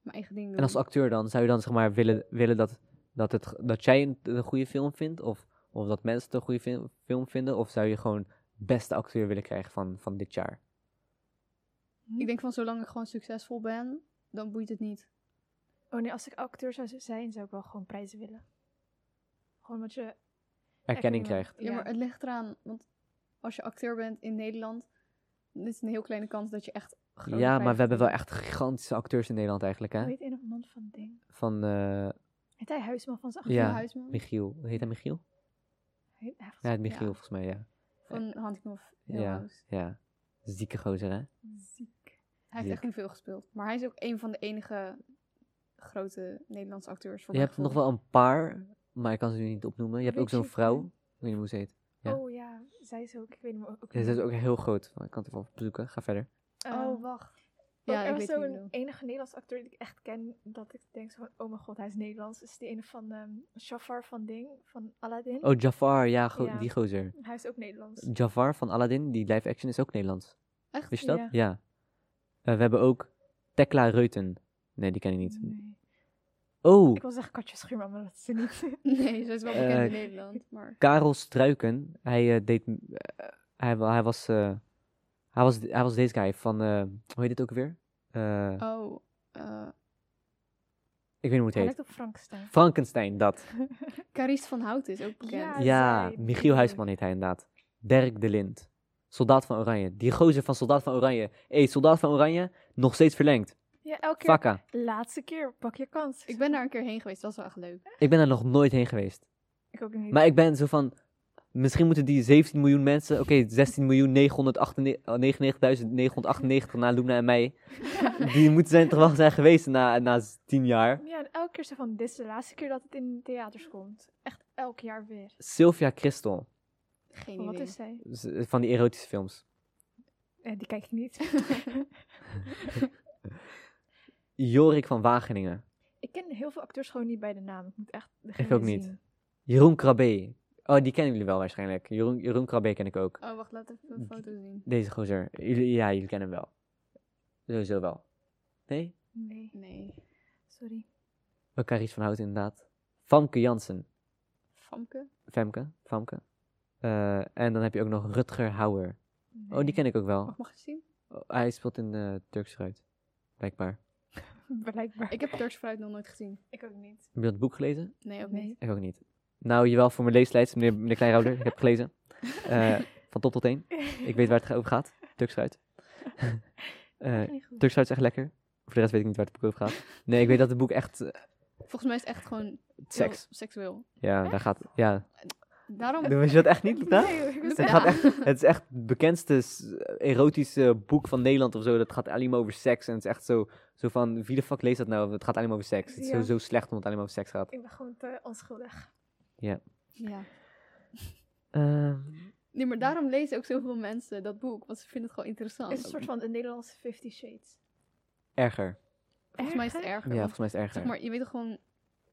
mijn eigen ding doen. En als acteur dan? Zou je dan, zeg maar, willen, willen dat, dat, het, dat jij een, een goede film vindt? Of, of dat mensen het een goede fil- film vinden? Of zou je gewoon beste acteur willen krijgen van, van dit jaar? Ik denk van zolang ik gewoon succesvol ben, dan boeit het niet. Oh nee, als ik acteur zou zijn, zou ik wel gewoon prijzen willen. Gewoon wat je... Erkenning Erkenning krijgt. Ja, maar het ligt eraan. Want als je acteur bent in Nederland, dit is een heel kleine kans dat je echt grote Ja, maar prijzen we hebben wel wint. echt gigantische acteurs in Nederland eigenlijk, hè? Weet een of man van ding. Van eh, Heet hij Huisman van zijn Ja. Van Huisman, Michiel. Heet hij Michiel? Heet- hij was Ja, het Michiel Ja. volgens mij, ja. van Handknof Ja, ja. Zieke gozer, hè? ziek. Hij heeft echt Ziek. niet veel gespeeld. Maar hij is ook een van de enige grote Nederlandse acteurs. Voor Je mijn hebt nog gevoel. wel een paar, maar ik kan ze nu niet opnoemen. Je hebt ook Weet je zo'n het, vrouw. hè? Ik weet niet hoe ze heet. Ja. Oh ja, zij is ook... Ik weet niet meer... Ook, Ja, ze is ook heel groot. Oh, Ik kan het even opzoeken. Ga verder. Ehm, Oh, wacht. Ook Ja, er ik was weet wie je zo'n bedoelt. enige Nederlands acteur die ik echt ken, dat ik denk zo van, oh mijn god, hij is Nederlands. Is die ene van ehm Jafar van Ding, van Aladdin. Oh, Jafar. Ja, go- Ja. die gozer. Hij is ook Nederlands. Jafar van Aladdin, die live action is ook Nederlands. Echt? Wist je dat? Ja. Ja. Eh, we hebben ook Tekla Reuten. Nee, die ken ik niet. Nee. Oh, Ik wil zeggen Katja Schuurman, maar dat is ze niet. Nee, ze is wel bekend Eh, in Nederland. Maar Karel Struiken. Hij eh, deed... eh, hij, wa- hij, was, eh, hij, was, hij was deze guy van... eh, hoe heet dit ook weer? Eh, oh, eh Ik weet niet hoe het hij heet. lijkt op Frankenstein. Frankenstein, dat. Carice van Hout is ook bekend. Ja, Ja, zij, die Michiel Huisman natuurlijk. heet hij inderdaad. Dirk de Lind. Soldaat van Oranje. Die gozer van Soldaat van Oranje. Hé, hey, Soldaat van Oranje, nog steeds verlengd. Ja, elke keer. Fakka. Laatste keer, pak je kans. Ik ben daar een keer heen geweest, dat was wel echt leuk. Ik ben er nog nooit heen geweest. Ik ook niet. Maar ik ben zo van. Misschien moeten die 17 miljoen mensen, oké, 16 miljoen eh, 999.998 na Luna en mij, die moeten zijn, toch wel zijn geweest na, na 10 jaar. Ja, en elke keer zo van, dit is de laatste keer dat het in de theaters komt. Echt elk jaar weer. Sylvia Christel, Geen Van, wat idee. is zij? z- van die erotische films. Eh, die kijk ik niet. Jorik van Wageningen. ik ken heel veel acteurs gewoon niet bij de naam. Ik moet echt Ik ook niet. Jeroen Krabbe. Oh, die kennen jullie wel waarschijnlijk. Jeroen, Jeroen Krabbe ken ik ook. Oh, wacht, laat even een foto zien. Deze gozer. Jullie, ja, jullie kennen hem wel. Sowieso wel. Nee? Nee, Nee. sorry. Wel Carice van Hout inderdaad. Famke Jansen. Famke? Femke. Famke. Eh, en dan heb je ook nog Rutger Hauer. Oh, die Nee. ken ik ook wel. Mag, mag ik zien? Oh, hij speelt in eh Turks Fruit. Blijkbaar. Blijkbaar. Ik heb Turks fruit nog nooit gezien. ik ook niet. Heb je dat boek gelezen? Nee, ook Nee. niet. Ik ook niet. Nou, jawel, voor mijn leeslijst, meneer, meneer Kleinrouder. ik heb gelezen. Eh, van top tot teen. Ik weet waar het over gaat. Turks Fruit. Eh, Niet goed. Turks Fruit is echt lekker. Voor de rest weet ik niet waar het boek over gaat. Nee, ik weet dat het boek echt eh, Volgens mij is het echt gewoon seks. heel seksueel. Ja, daar gaat... Ja. Daarom... Weet je dat echt niet, Lita? Nee, ik was Ja. Het, gaat echt, het is echt het bekendste s- erotische boek van Nederland of zo. Dat gaat alleen maar over seks. En het is echt zo, zo van, wie de fuck leest dat nou? Het gaat alleen maar over seks. Het is Ja. zo, zo slecht omdat het alleen maar over seks gaat. Ik ben gewoon te onschuldig. Ja. Ehm, Nee, maar daarom lezen ook zoveel mensen dat boek. Want ze vinden het gewoon interessant. Het is een soort van een Nederlandse Fifty Shades. erger. Volgens mij is het Erger? Ja, erger. want volgens mij is het erger. Zeg maar, je weet toch gewoon...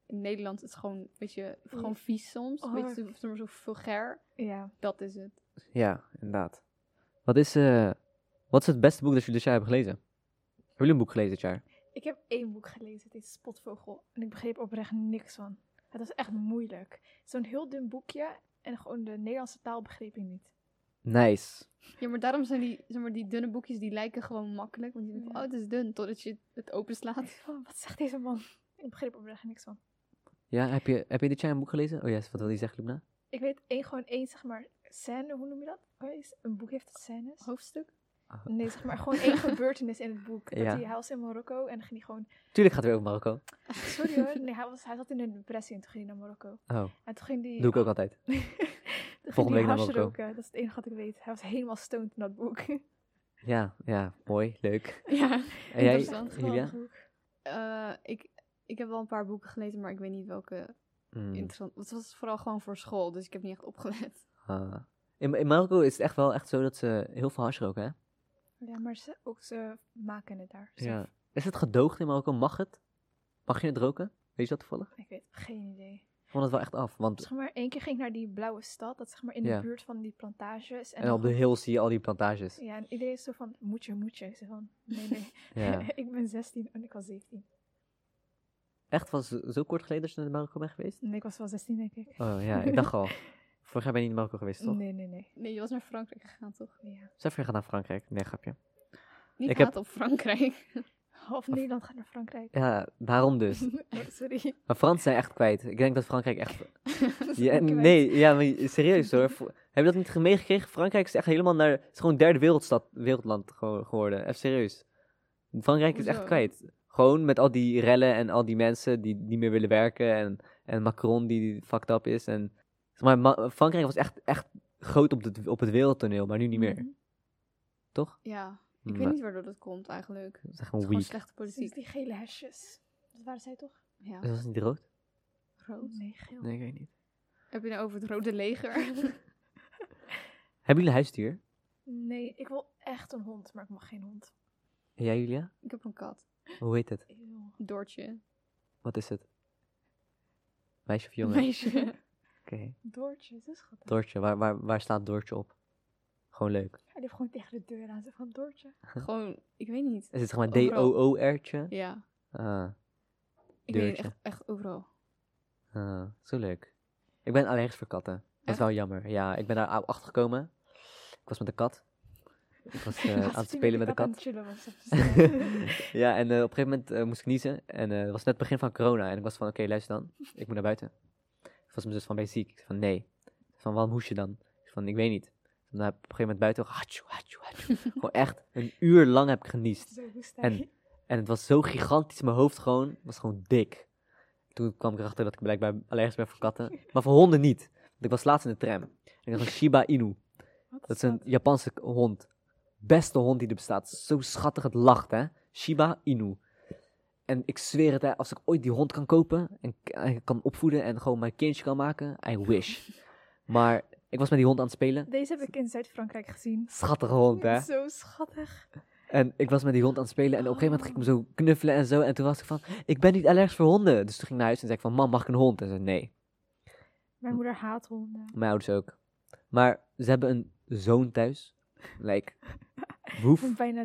In Nederland is het gewoon, weet je, gewoon vies soms. Oh. Weet je, zo- soms zo vulgair. Ja. Dat is het. Ja, inderdaad. Wat is, eh, wat is het beste boek dat jullie dit jaar hebben gelezen? Hebben jullie een boek gelezen dit jaar? Ik heb één boek gelezen, het is Spotvogel. En ik begreep oprecht niks van. Het was echt moeilijk. Zo'n heel dun boekje en gewoon de Nederlandse taal begreep ik niet. Nice. Ja, maar daarom zijn die, zeg maar, die dunne boekjes, die lijken gewoon makkelijk. Want je denkt van, Ja. oh, het is dun. Totdat je het Ik openslaat. van, Oh, wat zegt deze man? Ik begreep oprecht niks van. Ja, heb je, heb je dit jaar een boek gelezen? Oh ja, wat wil je zeggen, Luna? Ik weet één, gewoon één, zeg maar, scène, hoe noem je dat? Oh, is- Een boek heeft het scènes? Oh. Hoofdstuk? Nee, zeg maar, gewoon één gebeurtenis in het boek. Dat Ja. hij, hij was in Marokko en dan ging hij gewoon... Tuurlijk gaat het weer over Marokko. Sorry hoor, nee, hij, was, hij zat in een depressie en toen ging hij naar Marokko. Oh, En toen ging hij... doe ik ook altijd. Toen ging Volgende hij week naar hash Marokko. roken, eh, Dat is het enige wat ik weet. Hij was helemaal stoned in dat boek. Ja, ja, mooi, leuk. Ja. En jij, Interessant, Julia? Eh, ik, ik heb wel een paar boeken gelezen, maar ik weet niet welke Mm. interessant. Het was vooral gewoon voor school, dus ik heb niet echt opgelet. Ah. In, in Marokko is het echt wel echt zo dat ze heel veel hash roken, hè? Ja, maar ze, ook ze maken het daar. Ze- Is het gedoogd in Marokko? Mag het? Mag je het roken? Weet je dat toevallig? Ik weet geen idee. Ik vond het wel echt af. Want Zeg maar, één keer ging ik naar die blauwe stad. Dat zeg maar in Ja. de buurt van die plantages. En, en dan op de gewoon- hills zie je al die plantages. Ja, en iedereen is zo van, moet je, moet je. Ik zei van, nee, nee. Ja. ik ben 16 en ik was 17. Echt, was het zo kort geleden dat je naar Marokko bent geweest? Nee, ik was wel 16, denk ik. Oh ja, ik dacht al. Vorig jaar ben je niet in Marokko geweest, toch? Nee, nee, nee. Nee, je was naar Frankrijk gegaan, toch? Ja. Zelf weer gaan naar Frankrijk. Nee, grapje. Niet Ik ik heb- op Frankrijk. Half Nederland gaat naar Frankrijk. Ja, daarom dus. Oh, sorry. Maar Fransen zijn echt kwijt. Ik denk dat Frankrijk echt... Ja, Kwijt. nee, ja, maar serieus hoor. Vo- Heb je dat niet meegekregen? Frankrijk is echt helemaal naar... Het is gewoon derde wereldstad, wereldland gewo- geworden. Echt serieus. Frankrijk is echt Hoezo? kwijt. Gewoon met al die rellen en al die mensen die niet meer willen werken. En, en Macron die fucked up is. En, zeg maar Ma- Frankrijk was echt, echt groot op, het op het wereldtoneel, maar nu niet meer. Mhm. Toch? Ja, ik Maar- weet niet waardoor dat komt eigenlijk. Het Dat is echt is gewoon gewoon weak. slechte Precies, politiek. die gele hesjes. Dat waren zij toch? Ja, Is dat niet rood? rood. Nee, geel. Nee, ik weet niet. Heb je nou over het Rode Leger? Hebben jullie een huisdier? Nee, ik wil echt een hond, maar ik mag geen hond. En jij, Julia? ik heb een kat. Hoe heet het? Eeuw. Doortje. Wat is het? Meisje of jongen? Meisje. Oké. Doortje, dat is schattig. Doortje, waar, waar, waar staat Doortje op? Gewoon leuk. Hij liep gewoon tegen de deur aan, zo van Doortje. gewoon, ik weet niet. Is het zeg maar Overal. D-O-O-R'tje? Ja, Ah, ik weet niet, Deurtje. echt, echt overal. ah, zo leuk. Ik ben allergisch voor katten. Dat is Echt? wel jammer. Ja, ik ben daar a- achter gekomen. Ik was met een kat. Ik was eh, Laatst aan het zien spelen met een aan kat. het chillen was. op de ja, en eh, op een gegeven moment eh, moest ik niezen. En eh, het was net het begin van corona. En ik was van, oké, luister dan. Ik moet naar buiten. Ik was mijn zus van, ben je ziek? Ik zei van, nee. Van, waarom hoes je dan? Ik zei van, ik weet niet. En dan heb ik op een gegeven moment buiten, hatsjoe, hatsjoe, hatsjoe. Gewoon echt een uur lang heb ik geniest. Zo hoest hij. En- En het was zo gigantisch, mijn hoofd gewoon, was gewoon dik. Toen kwam ik erachter dat ik blijkbaar allergisch ben voor katten. Maar voor honden niet. Ik was laatst in de tram. En ik had een Shiba Inu. Wat Dat is een Japanse k- hond. Beste hond die er bestaat. Zo schattig, het lacht, hè. Shiba Inu. En ik zweer het, hè, als ik ooit die hond kan kopen en, k- en kan opvoeden en gewoon mijn kindje kan maken, I wish. Maar ik was met die hond aan het spelen. Deze heb ik in Zuid-Frankrijk gezien. Schattige hond, hè. Zo schattig. En ik was met die hond aan het spelen en op een gegeven moment ging ik hem zo knuffelen en zo. En toen was ik van, ik ben niet allergisch voor honden. Dus toen ging ik naar huis en zei ik van, mam, mag ik een hond? En ze zei, nee. Hm. Mijn moeder haat honden. Mijn ouders ook. Maar ze hebben een zoon thuis. Like, Ik woef. ben bijna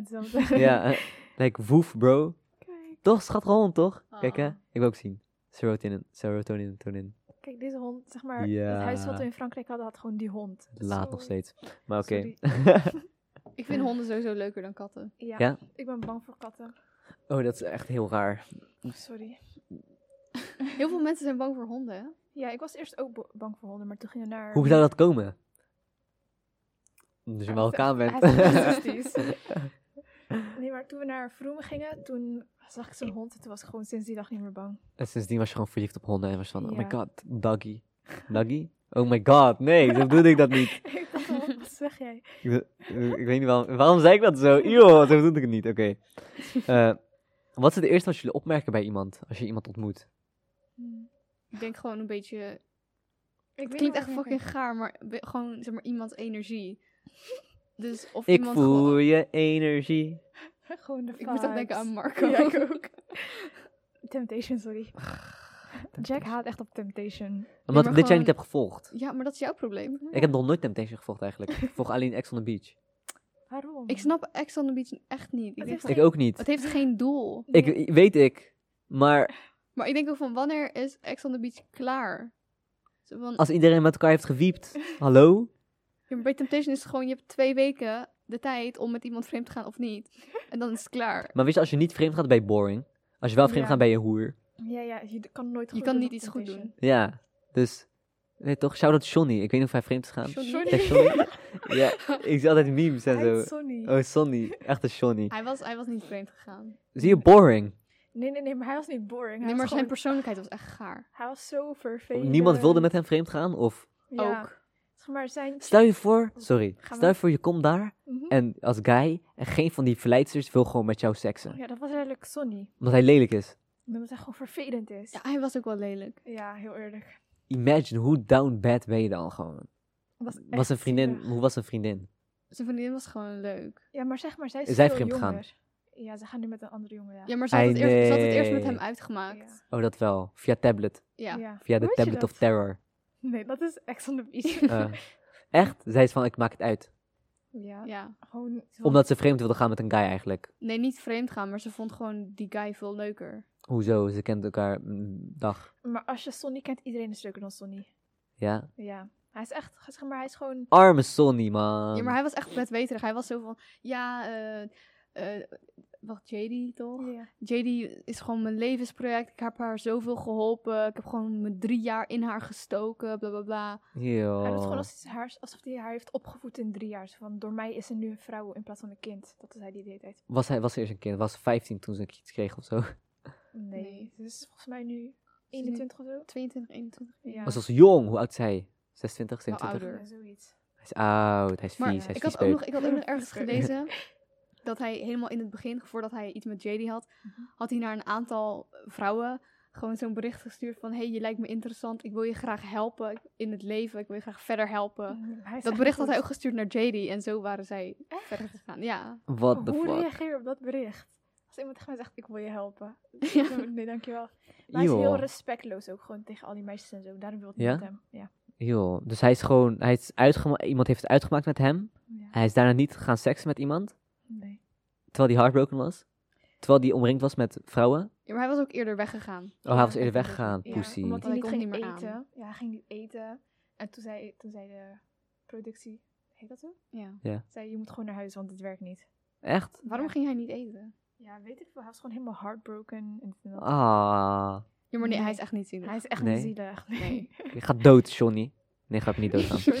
hetzelfde. Ja, eh, like woef, bro. Kijk. Toch, schat gewoon, toch? Kijk, hè. Ah. Ik wil ook zien. Serotonin, serotonin, tonin. Kijk, deze hond, zeg maar, Ja. het huis wat we in Frankrijk hadden, had gewoon die hond. Laat nog Sorry. steeds. Maar oké. Sorry. Ik vind honden sowieso leuker dan katten. Ja, Ja? ik ben bang voor katten. Oh, dat is echt heel raar. Sorry. Heel veel mensen zijn bang voor honden, hè? Ja, ik was eerst ook bo- bang voor honden, maar toen gingen we naar... Hoe zou dat komen? Omdat je Ja, bij elkaar hij bent. is fantastisch. Nee, maar toen we naar Vroom gingen, toen zag ik zo'n hond en toen was ik gewoon sinds die dag niet meer bang. En sindsdien was je gewoon verliefd op honden en was je van, oh my Ja. god, doggy. Doggy? Oh my god, nee, zo bedoelde ik dat niet. ik dacht al, wat zeg jij? Ik, be- ik weet niet waarom, waarom zei ik dat zo? Joh, zo bedoelde ik het niet, oké. Eh, wat is het eerste wat jullie opmerken bij iemand, als je iemand ontmoet? Hm. Ik denk gewoon een beetje... Ik Het weet klinkt niet echt wat ik fucking denk. gaar, maar be- gewoon, zeg maar, iemands energie. Dus of Ik iemand gewoon- voel je energie. Gewoon de Ik moet echt vibes. denken aan Marco. Ja, ik ook. Temptation, sorry. Jack haat echt op Temptation. Omdat ik dit jaar gewoon- niet heb gevolgd. Ja, maar dat is jouw probleem. Ik heb nog nooit Temptation gevolgd eigenlijk. Ik volg alleen Ex on the Beach. Waarom? Ik snap Ex on the Beach echt niet. Het Ik denk heeft van- Ik ook niet. Het heeft geen doel. Ik, ik- weet ik. Maar Maar ik denk ook van, wanneer is Ex on the Beach klaar? Zo van, als iedereen met elkaar heeft gewiept, hallo? ja, maar bij Temptation is het gewoon, je hebt twee weken de tijd om met iemand vreemd te gaan of niet. En dan is het klaar. Maar weet je, als je niet vreemd gaat, ben je boring. Als je wel vreemd Ja. gaat, ben je hoer. Ja, ja, je d- kan nooit Je goed kan doen niet op iets goed doen. Temptation. Ja, dus. Nee, toch? Shout-out Johnny. Ik weet niet of hij vreemd is gaan. Johnny. Johnny. Zeg Johnny? ja, ik zie altijd memes en Hij heet zo. Sonny. Oh, Sonny. Echte Johnny. Hij was, hij was niet vreemd gegaan. Zie je, boring. Nee, nee, nee, maar hij was niet boring. Hij, Nee, maar was, zijn gewoon, persoonlijkheid was echt gaar. hij was zo vervelend. Niemand wilde met hem vreemd gaan, of... ja. Ook. Zeg maar, zijn... Stel je voor... Sorry. Gaan we- Stel je voor, je komt daar Mhm. en als guy en geen van die verleidsters wil gewoon met jou seksen. Ja, dat was eigenlijk Sonny. Omdat hij lelijk is. Omdat hij gewoon vervelend is. Ja, hij was ook wel lelijk. Ja, heel eerlijk. Imagine, hoe down bad ben je dan gewoon? Was, Was echt een vriendin... zielig. Hoe was een vriendin? Zijn vriendin was gewoon leuk. Ja, maar zeg maar, zij is Is hij veel vreemd gegaan? jonger. Ja, ze gaan nu met een andere jongen, ja. Ja, maar ze had, Ei, het eerst, ze had het eerst met nee. hem uitgemaakt. Oh, dat wel. Via tablet. Ja. Ja. Via Hoe de weet je tablet dat? of terror. Nee, dat is echt on the beach. Eh, echt? Zij is van, ik maak het uit. ja. ja. gewoon... Omdat ze vreemd wilde gaan met een guy eigenlijk. Nee, niet vreemd gaan, maar ze vond gewoon die guy veel leuker. Hoezo? Ze kent elkaar mm, dag. Maar als je Sonny kent, iedereen is leuker dan Sonny. Ja. Ja. Hij is echt, zeg maar, hij is gewoon... Arme Sonny, man. Ja, maar hij was echt bedweterig. Hij was zo van, ja, eh eh, wacht, JD toch? Oh. Ja. JD is gewoon mijn levensproject. Ik heb haar zoveel geholpen. Ik heb gewoon mijn drie jaar in haar gestoken, bla bla bla. Yo. Hij doet gewoon alsof hij, haar, alsof hij haar heeft opgevoed in drie jaar. Zo van, door mij is ze nu een vrouw in plaats van een kind. Dat is hij die de hele tijd. Was hij was eerst een kind? Was 15 toen ze een iets kreeg of zo? Nee. Nee. Ze is volgens mij nu nu- 21 of zo. 22, 21. Ja. Was als jong. Hoe oud is hij? 26, 27? Wel ouder. Ja, zoiets. Hij is oud. Hij is vies. Maar hij is ik, vies had ook peuk. nog, ik had ook nog ergens Sorry. gelezen dat hij helemaal in het begin, voordat hij iets met JD had, had hij naar een aantal vrouwen gewoon zo'n bericht gestuurd van... hey, je lijkt me interessant. Ik wil je graag helpen in het leven. Ik wil je graag verder helpen. Mm, hij is Dat echt bericht had hij ook goed. gestuurd naar JD. En zo waren zij verder gegaan. Ja. What the Hoe fuck? reageer je op dat bericht? Als iemand tegen mij zegt, ik wil je helpen. Ja. Nee, dankjewel. Maar hij is heel Joh. respectloos ook gewoon tegen al die meisjes en zo. Daarom wil ik Ja? niet met hem. Ja. Joh. Dus hij is gewoon... Hij is uitgema- iemand heeft het uitgemaakt met hem. ja. Hij is daarna niet gaan seksen met iemand. Nee. Terwijl hij heartbroken was. Terwijl hij omringd was met vrouwen. Ja, maar hij was ook eerder weggegaan. Oh, hij was eerder weggegaan. Ja, Pussy. Omdat hij Hij niet kon ging niet meer aan. eten. Ja, hij ging niet eten. En toen zei, toen zei de productie, heet dat zo? Ja. Zei, je moet gewoon naar huis, want het werkt niet. Echt? Waarom Ja. ging hij niet eten? Ja, weet ik veel. Hij was gewoon helemaal heartbroken. En dit en dat. Ah. Ja, maar nee, hij is Nee. echt niet zielig. Hij is echt Nee. niet zielig. Nee. Je gaat dood, Johnny. Nee, ga ik niet doodgaan.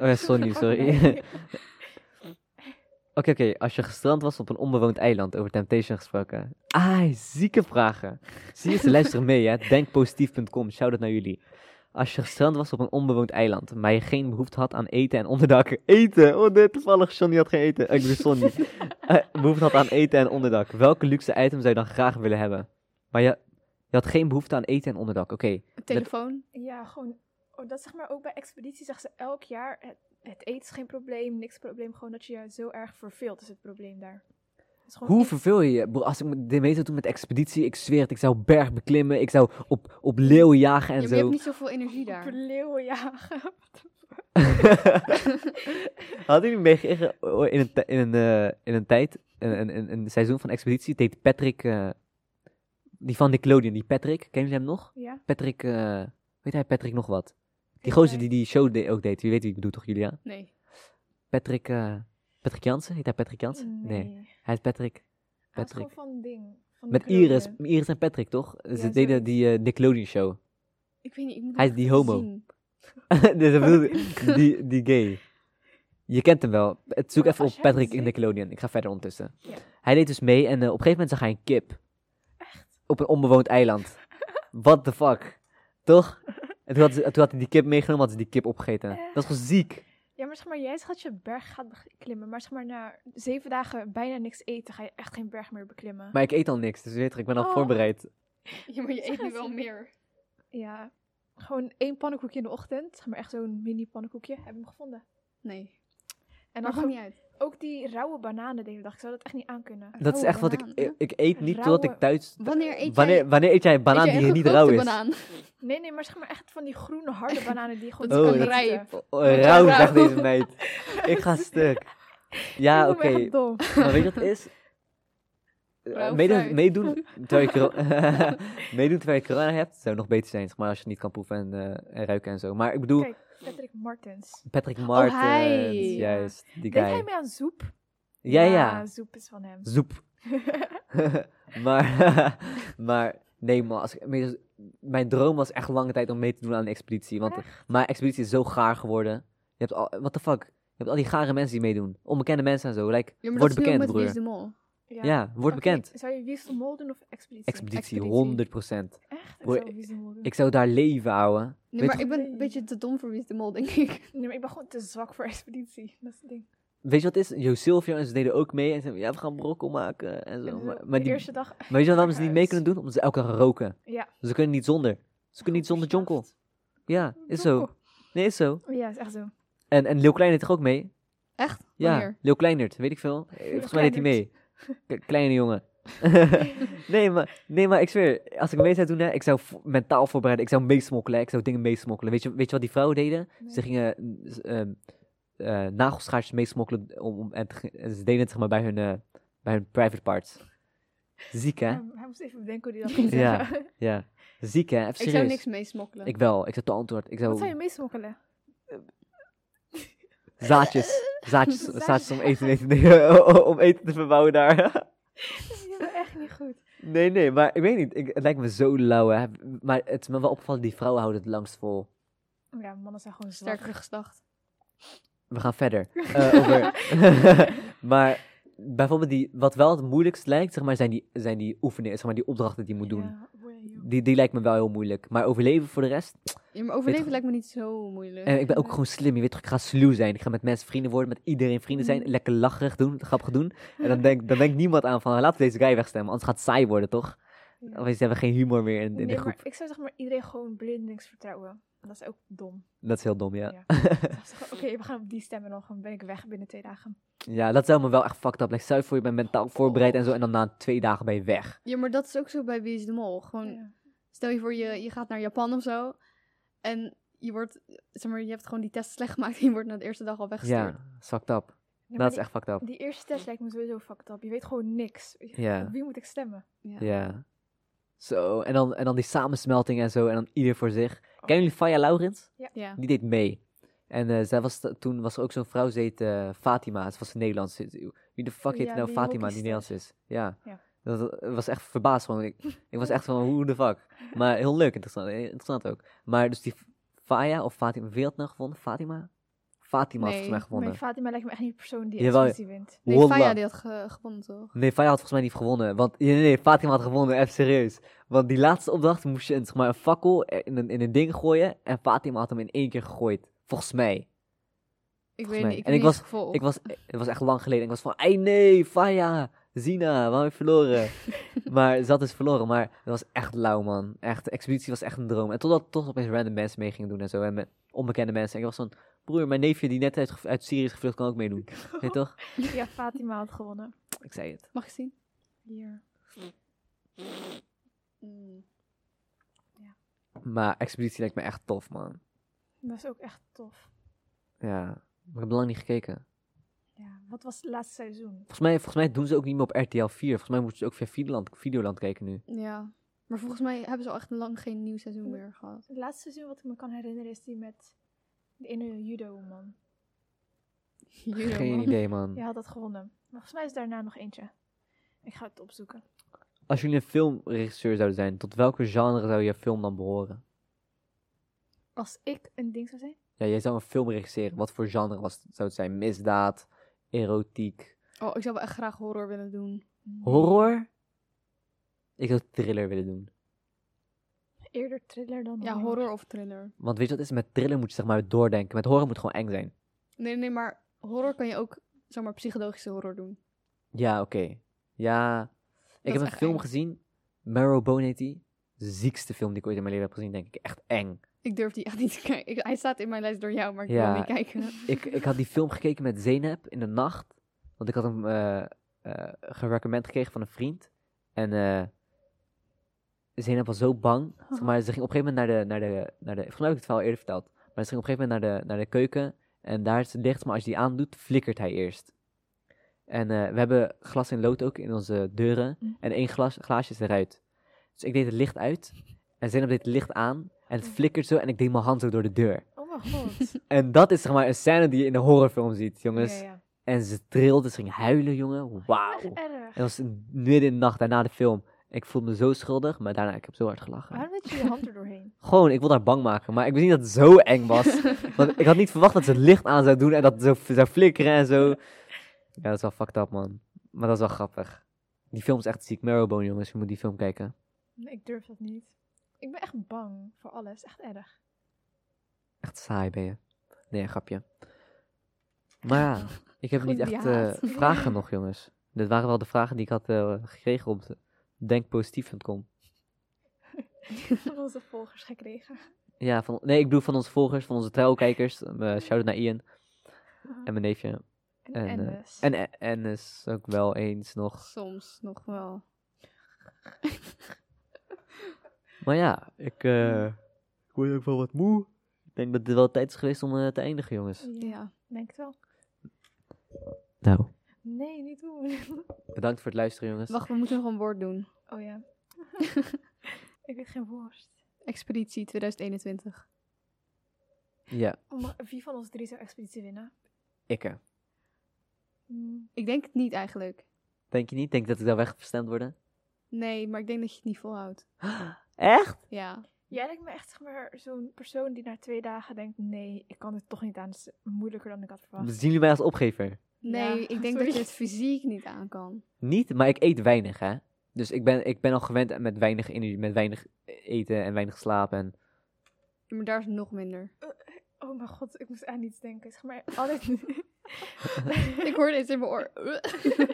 Oh ja, Sonny, sorry. Oké, oké. Als je gestrand was op een onbewoond eiland, over Temptation gesproken. Ah, zieke vragen. Zie je, ze luisteren mee, hè. Denkpositief.com, shout-out naar jullie. Als je gestrand was op een onbewoond eiland, maar je geen behoefte had aan eten en onderdak. Eten! Oh nee, toevallig, Sonny had geen eten. Eh, Ik bedoel Sonny. Eh, behoefte had aan eten en onderdak. Welke luxe item zou je dan graag willen hebben? Maar je, je had geen behoefte aan eten en onderdak. Oké, Een telefoon. Ja, gewoon. Oh, dat zeg maar ook bij expeditie zeggen ze elk jaar. Het, het eten is geen probleem, niks probleem. Gewoon dat je je zo erg verveelt is het probleem daar. Het is gewoon Hoe echt- verveel je je? Broer, Als ik met- de mee zou doen met de expeditie, ik zweer het, ik zou berg beklimmen, ik zou op, op leeuwen jagen en Ja, maar je zo. hebt niet zoveel energie Op daar. leeuwen jagen. Hadden jullie meegekregen oh, in een, ti- in een, eh, in een tijd, een, een, een, een seizoen van expeditie, deed Patrick, eh, die van Nickelodeon, die Patrick, kennen jullie hem nog? ja. Patrick, eh, weet hij Patrick nog wat? Die Geen gozer die idee. die show de- ook deed, wie weet wie ik bedoel toch, Julia? Nee. Patrick, eh, Patrick Jansen, heet hij Patrick Jansen? Hij is Patrick. Hij was Patrick. gewoon van ding. Van Met Nickelodeon. Iris, Iris en Patrick toch? Ze zoiets. deden die eh Nickelodeon show. Ik weet niet, ik moet Hij nog is die even homo. zien. dus dat bedoel ik, die, die gay. Je kent hem wel. Het- Zoek Maar even als op jij het Patrick in zegt- Nickelodeon. Ik ga verder ondertussen. Ja. Hij deed dus mee en eh, op een gegeven moment zag hij een kip. Echt? Op een onbewoond eiland. What the fuck? Toch? En toen had, ze- toen had hij die kip meegenomen, had ze die kip opgegeten. Dat is gewoon ziek. Ja, maar zeg maar, jij zegt dat je een berg gaat beklimmen. Maar zeg maar, na zeven dagen bijna niks eten, ga je echt geen berg meer beklimmen. Maar ik eet al niks, dus weet je, ik ben al Oh. voorbereid. Ja, maar je Zeg eet nu eens. wel meer. Ja, gewoon één pannenkoekje in de ochtend. Zeg maar, echt zo'n mini pannenkoekje. Heb hem gevonden. Nee. En dan Maakt ook niet uit. Ook die rauwe bananen de hele dag. Ik zou dat echt niet aankunnen. Dat is Rauwe echt wat ik... banaan, hè? Ik, ik eet niet totdat ik Rauwe- thuis... Wanneer eet jij... Wanneer, wanneer eet jij een banaan eet jij die een niet rauw gekookte is? banaan? Nee, nee, maar zeg maar echt van die groene harde bananen die gewoon Dat is te een eten. rijp. Oh, rauw, Rauw. zegt deze meid. Ik ga stuk. Ja, Ik oké. voel me echt dom. Maar weet je wat het is? Eh, Rauw meedoen, fruit. meedoen, terwijl je coro- meedoen terwijl je corona hebt, zou nog beter zijn, zeg maar, als je het niet kan proeven en, eh, en ruiken en zo. Maar ik bedoel, Kijk, Patrick Martens. Patrick Martens, hij. juist, die Deed hij guy. mee aan Zoep? Ja, ja, Zoep is van hem. zoep. maar, maar, nee man, als ik, maar- mijn droom was echt lange tijd om mee te doen aan een expeditie, want mijn expeditie is zo gaar geworden. Je hebt al, what the fuck, je hebt al die gare mensen die meedoen, onbekende mensen en zo, like, Ja, maar word dat is nu ook bekend met Wie broer. is de Mol. Ja, Ja, word Oké, bekend. Zou je Wies de Mol doen of Expeditie? Expeditie, Expeditie. 100%. Echt? Ik Broer, zou Wies de Mol doen. Ik zou daar leven, ouwe. Weet Nee, maar je- ik ben een beetje te dom voor Wie is de Mol, denk ik. Nee, maar ik ben gewoon te zwak voor Expeditie. Dat is het ding. Weet je wat het is? Jo Silvio en ze deden ook mee. En ze zeiden, ja, we gaan brokkel maken en zo. En Maar, de maar, die, eerste dag... maar weet je waarom ze niet mee huis. kunnen doen? Omdat ze elke dag roken. Ja. Ze kunnen niet zonder. Ze kunnen niet zonder jonkel. Ja, is zo. Nee, is zo. Ja, is echt zo. En, en Leeuw Kleinert toch ook mee? Echt? Ja, Wanneer? Leeuw Kleinert, weet ik veel. Eh, Volgens mij deed hij mee. Oh, Kleinert. K- kleine jongen. nee, maar, nee, maar ik zweer, als ik mee zou doen, hè, ik zou vo- mentaal voorbereiden. Ik zou meesmokkelen, hè, ik zou dingen meesmokkelen. Weet je, weet je wat die vrouwen deden? Nee. Ze gingen mm, s- ehm, eh, nagelschaartjes meesmokkelen om, om, en, te ge- en ze deden het zeg maar, bij, hun, eh, bij hun private parts. Ziek, hè? Hij, hij moest even bedenken hoe hij dat ging Ja. zeggen. Ja. Ziek, hè? Even Ik serieus. zou niks meesmokkelen. Ik wel. Ik zou te antwoord. Ik Wat zou zou je meesmokkelen? zaadjes, zaadjes, Zaadjes. zaadjes om eten, eten, nee, om eten te verbouwen daar. Je bent echt niet goed. Nee, nee, maar ik weet niet. Ik, het lijkt me zo lauw, hè. Maar het is me wel opgevallen, die vrouwen houden het langst vol. Oh Ja, mannen zijn gewoon zwak. Sterkere geslacht. We gaan verder. Eh, over... maar bijvoorbeeld, die, wat wel het moeilijkst lijkt, zeg maar, zijn die, zijn die oefeningen, zeg maar, die opdrachten die je moet doen. Ja, oei, joh. Die, die lijkt me wel heel moeilijk. Maar overleven voor de rest. Ja, maar overleven Weet- lijkt me niet zo moeilijk. En ik ben ook Ja. gewoon slim. Je weet toch, ik ga sluw zijn. Ik ga met mensen vrienden worden, met iedereen vrienden zijn. Mhm. Lekker lacherig doen, grappig doen. En dan denkt dan denkt niemand aan van, laten we deze guy wegstemmen. Anders gaat het saai worden, toch? Ja. Of ze hebben geen humor meer in, in Nee, de maar groep. ik zou zeg maar iedereen gewoon blindelings vertrouwen. Dat is ook dom. Dat is heel dom, ja. Ja. Ik zou zeggen, Oké, we gaan op die stemmen en dan ben ik weg binnen twee dagen. Ja, dat zou me wel echt fucked up. Like, stel je voor, je bent mentaal voorbereid en zo. En dan na twee dagen ben je weg. Ja, maar dat is ook zo bij Wie is de Mol. Gewoon, Ja. stel je voor, je, je gaat naar Japan of zo. En je wordt, zeg maar, je hebt gewoon die test slecht gemaakt. En je wordt na de eerste dag al weggestuurd. Ja, fucked up. Nee, maar dat is die, echt fucked up. die eerste test lijkt me sowieso fucked up. Je weet gewoon niks. Ja. Op wie moet ik stemmen? Ja. Ja. Zo, en dan, en dan die samensmelting en zo. En dan ieder voor zich. Kennen jullie Faya Laurens? Ja. Die deed mee. En eh, zij was, t- toen was er ook zo'n vrouw, ze heet eh, Fatima. Ze was een Nederlands. Wie de fuck heet Ja, nou die Fatima, die hockeyster. Nederlands is? Ja. Ja. Dat, dat was echt verbaasd gewoon. Ik, ik was echt van, hoe de fuck? Maar heel leuk, interessant, eh, interessant ook. Maar dus die Faya of Fatima, wie had het nou gevonden? Fatima? Fatima had Nee, volgens mij gewonnen. Maar Fatima lijkt me echt niet de persoon die Jawel. expositie wint. Nee, Wallah. Faya die had ge- gewonnen, toch? Nee, Faya had volgens mij niet gewonnen. Want nee, nee, nee, Fatima had gewonnen, even serieus. Want die laatste opdracht moest je een, zeg maar, een fakkel eh, in een, in een ding gooien. En Fatima had hem in één keer gegooid. Volgens mij. Ik Volgens weet mij. niet, En ik heb ik niet was- eens gevolgd. Ik was, het was echt lang geleden. Ik was van, ei nee, Faya, Zina, waarom heb je verloren? maar ze had dus verloren. Maar het was echt lauw, man. Echt, de expeditie was echt een droom. En totdat toch opeens random mensen mee gingen doen en zo. En met onbekende mensen. En ik was van, broer, mijn neefje die net uit, gev- uit Syrië is gevlucht, kan ook meedoen. Weet je toch? Ja, Fatima had gewonnen. Ik zei het. Mag ik zien? Hier. Mm. Maar expeditie lijkt me echt tof, man. Dat is ook echt tof. Ja, maar ik heb lang niet gekeken. Ja, wat was het laatste seizoen? Volgens mij, volgens mij doen ze ook niet meer op RTL 4. Volgens mij moeten ze ook via Videoland, Videoland kijken nu. Ja. Maar volgens mij hebben ze al echt lang geen nieuw seizoen meer gehad. Het laatste seizoen wat ik me kan herinneren is die met de ene judo-man. Judo, Geen man. idee, man. Je had dat gewonnen. Maar volgens mij is daarna nog eentje. Ik ga het opzoeken. Als jullie een filmregisseur zouden zijn, tot welke genre zou je film dan behoren? Als ik een ding zou zijn. Ja, jij zou een film regisseren. Wat voor genre was, zou het zijn? Misdaad, erotiek, Oh, ik zou wel echt graag horror willen doen. nee, horror? Ik zou thriller willen doen. Eerder thriller dan Ja, horror of thriller. Want weet je wat is? Met thriller moet je zeg maar doordenken. Met horror moet het gewoon eng zijn. Nee, nee, maar horror kan je ook, zeg maar, psychologische horror doen. Ja, oké. Ja, ik is heb een echt film eng. gezien. Marrowbone heet die. De ziekste film die ik ooit in mijn leven heb gezien, denk ik. Echt eng. Ik durf die echt niet te kijken. Ik- hij staat in mijn lijst door jou, maar ik Ja. wil niet kijken. ik, ik had die film gekeken met Zeynep in de nacht. Want ik had hem eh eh, gerecommend gekregen van een vriend. En eh Zeynep was zo bang. Zeg maar, ze ging op een gegeven moment naar de... Naar de, naar de volgens mij heb ik het verhaal eerder verteld. Maar ze ging op een gegeven moment naar de, naar de keuken. En daar is het licht. Maar als je die aandoet, flikkert hij eerst. En eh, we hebben glas en lood ook in onze deuren. Mm. En één glas, glaasje is eruit. Dus ik deed het licht uit. En Zeynep deed het licht aan. En het Mm. flikkert zo. En ik deed mijn hand zo door de deur. Oh mijn god. En dat is zeg maar een scène die je in een horrorfilm ziet, jongens. ja, ja. En ze trilde, ze ging huilen, jongen. Wauw. Echt En erg. dat was in- midden in de nacht daarna de film. Ik voelde me zo schuldig, maar daarna ik heb zo hard gelachen. Waarom weet je je hand er doorheen? Gewoon, ik wilde haar bang maken, maar ik wist niet dat het zo eng was. Want ik had niet verwacht dat ze het licht aan zou doen en dat het zo f- zou flikkeren en zo. Ja, dat is wel fucked up, man. Maar dat is wel grappig. Die film is echt ziek. Marrowbone, jongens. Je moet die film kijken. Nee, ik durf dat niet. Ik ben echt bang voor alles. Echt erg. Echt saai ben je. Nee, grapje. Maar ja, ik heb Goed, niet echt die eh, haat. vragen nog, jongens. Dit waren wel de vragen die ik had eh, gekregen op de- denkpositief.com. Van onze volgers gekregen. Ja, van, nee, ik bedoel van onze volgers, van onze trouwkijkers. Eh Shout-out naar Ian en mijn neefje. En, En, en, eh, dus. En, en, en is ook wel eens nog. Soms nog wel. Maar ja, ik, eh, ik word ook wel wat moe. Ik denk dat dit wel tijd is geweest om eh, te eindigen, jongens. Ja. Denk het wel. Nou, Nee, niet doen. bedankt voor het luisteren, jongens. Wacht, we moeten nog een woord doen. Oh ja. ik weet geen woord. Expeditie 2021. Ja, Maar wie van ons drie zou expeditie winnen? ikke. Hmm, Ik denk het niet eigenlijk. Denk je niet? Denk je dat ik daar weggestemd worden? Nee, maar ik denk dat je het niet volhoudt. Echt? Ja. Jij lijkt me echt zeg maar, zo'n persoon die na twee dagen denkt: nee, ik kan dit toch niet aan. Het is moeilijker dan ik had verwacht. Zien jullie mij als opgever? Nee, Ja, ik denk dat sorry. je het fysiek niet aan kan. Niet, maar ik eet weinig, hè. Dus ik ben, ik ben al gewend aan met weinig energie, met weinig eten en weinig slapen. En... Maar daar is het nog minder. Oh mijn god, ik moest aan iets denken. Zeg maar, altijd... Ik hoorde iets in mijn oor.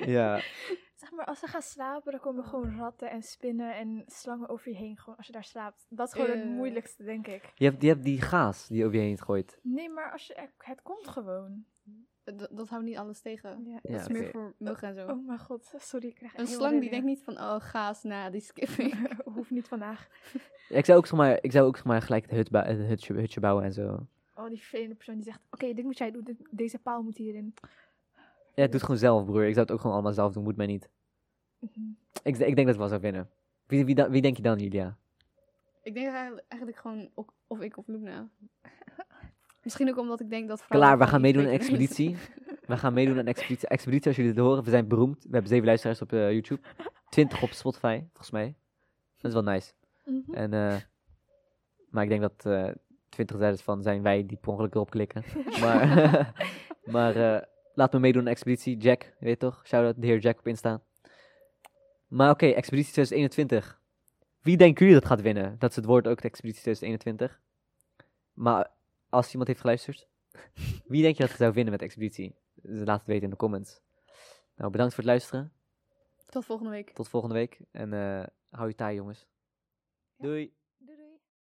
Ja. zeg maar, als ze gaan slapen, dan komen gewoon ratten en spinnen en slangen over je heen. Gewoon als je daar slaapt. Dat is gewoon het Eh. moeilijkste, denk ik. Je hebt, je hebt die gaas die over je heen gooit. Nee, maar als je, het komt gewoon. dat, dat houdt niet alles tegen. Ja. Ja, dat is meer oké. voor muggen en zo. Oh mijn god, sorry, ik krijg een slang die denkt niet van, oh, gaas, na, die skip ik. niet. Hoeft niet vandaag. Ik zou ook, zeg maar, ik zou ook zeg maar, gelijk het hut bou- een hutje, hutje bouwen en zo. Oh, die vervelende persoon die zegt: Oké, dit moet jij doen, dit- deze paal moet hierin. Ja, het doet gewoon zelf, broer. Ik zou het ook gewoon allemaal zelf doen, moet mij niet. Mhm. Ik, ik denk dat ik wel zou winnen. Wie, wie, dan- wie denk je dan, Julia? Ik denk eigenlijk, eigenlijk gewoon ook- of ik of Luna. Misschien ook omdat ik denk dat vrouwen... Klaar, we gewoon gaan meedoen aan iets beter weten. expeditie. We gaan meedoen aan expeditie. Expeditie, als jullie dit horen, we zijn beroemd. We hebben zeven luisteraars op eh, YouTube. 20 op Spotify, volgens mij. Dat is wel nice. Mhm. En, eh, maar ik denk dat eh, 20.000 van zijn wij die per ongeluk erop klikken. maar maar eh, laat me meedoen aan expeditie Jack, je weet toch? Shout-out de heer Jack op Insta. Maar oké, expeditie 2021. Wie denken jullie dat gaat winnen? Dat is het woord ook, de expeditie 2021. Maar als iemand heeft geluisterd, wie denk je dat er zou winnen met de expeditie? Dus Laat het weten in de comments. Nou, bedankt voor het luisteren. Tot volgende week. Tot volgende week. En eh, hou je taai, jongens. Doei!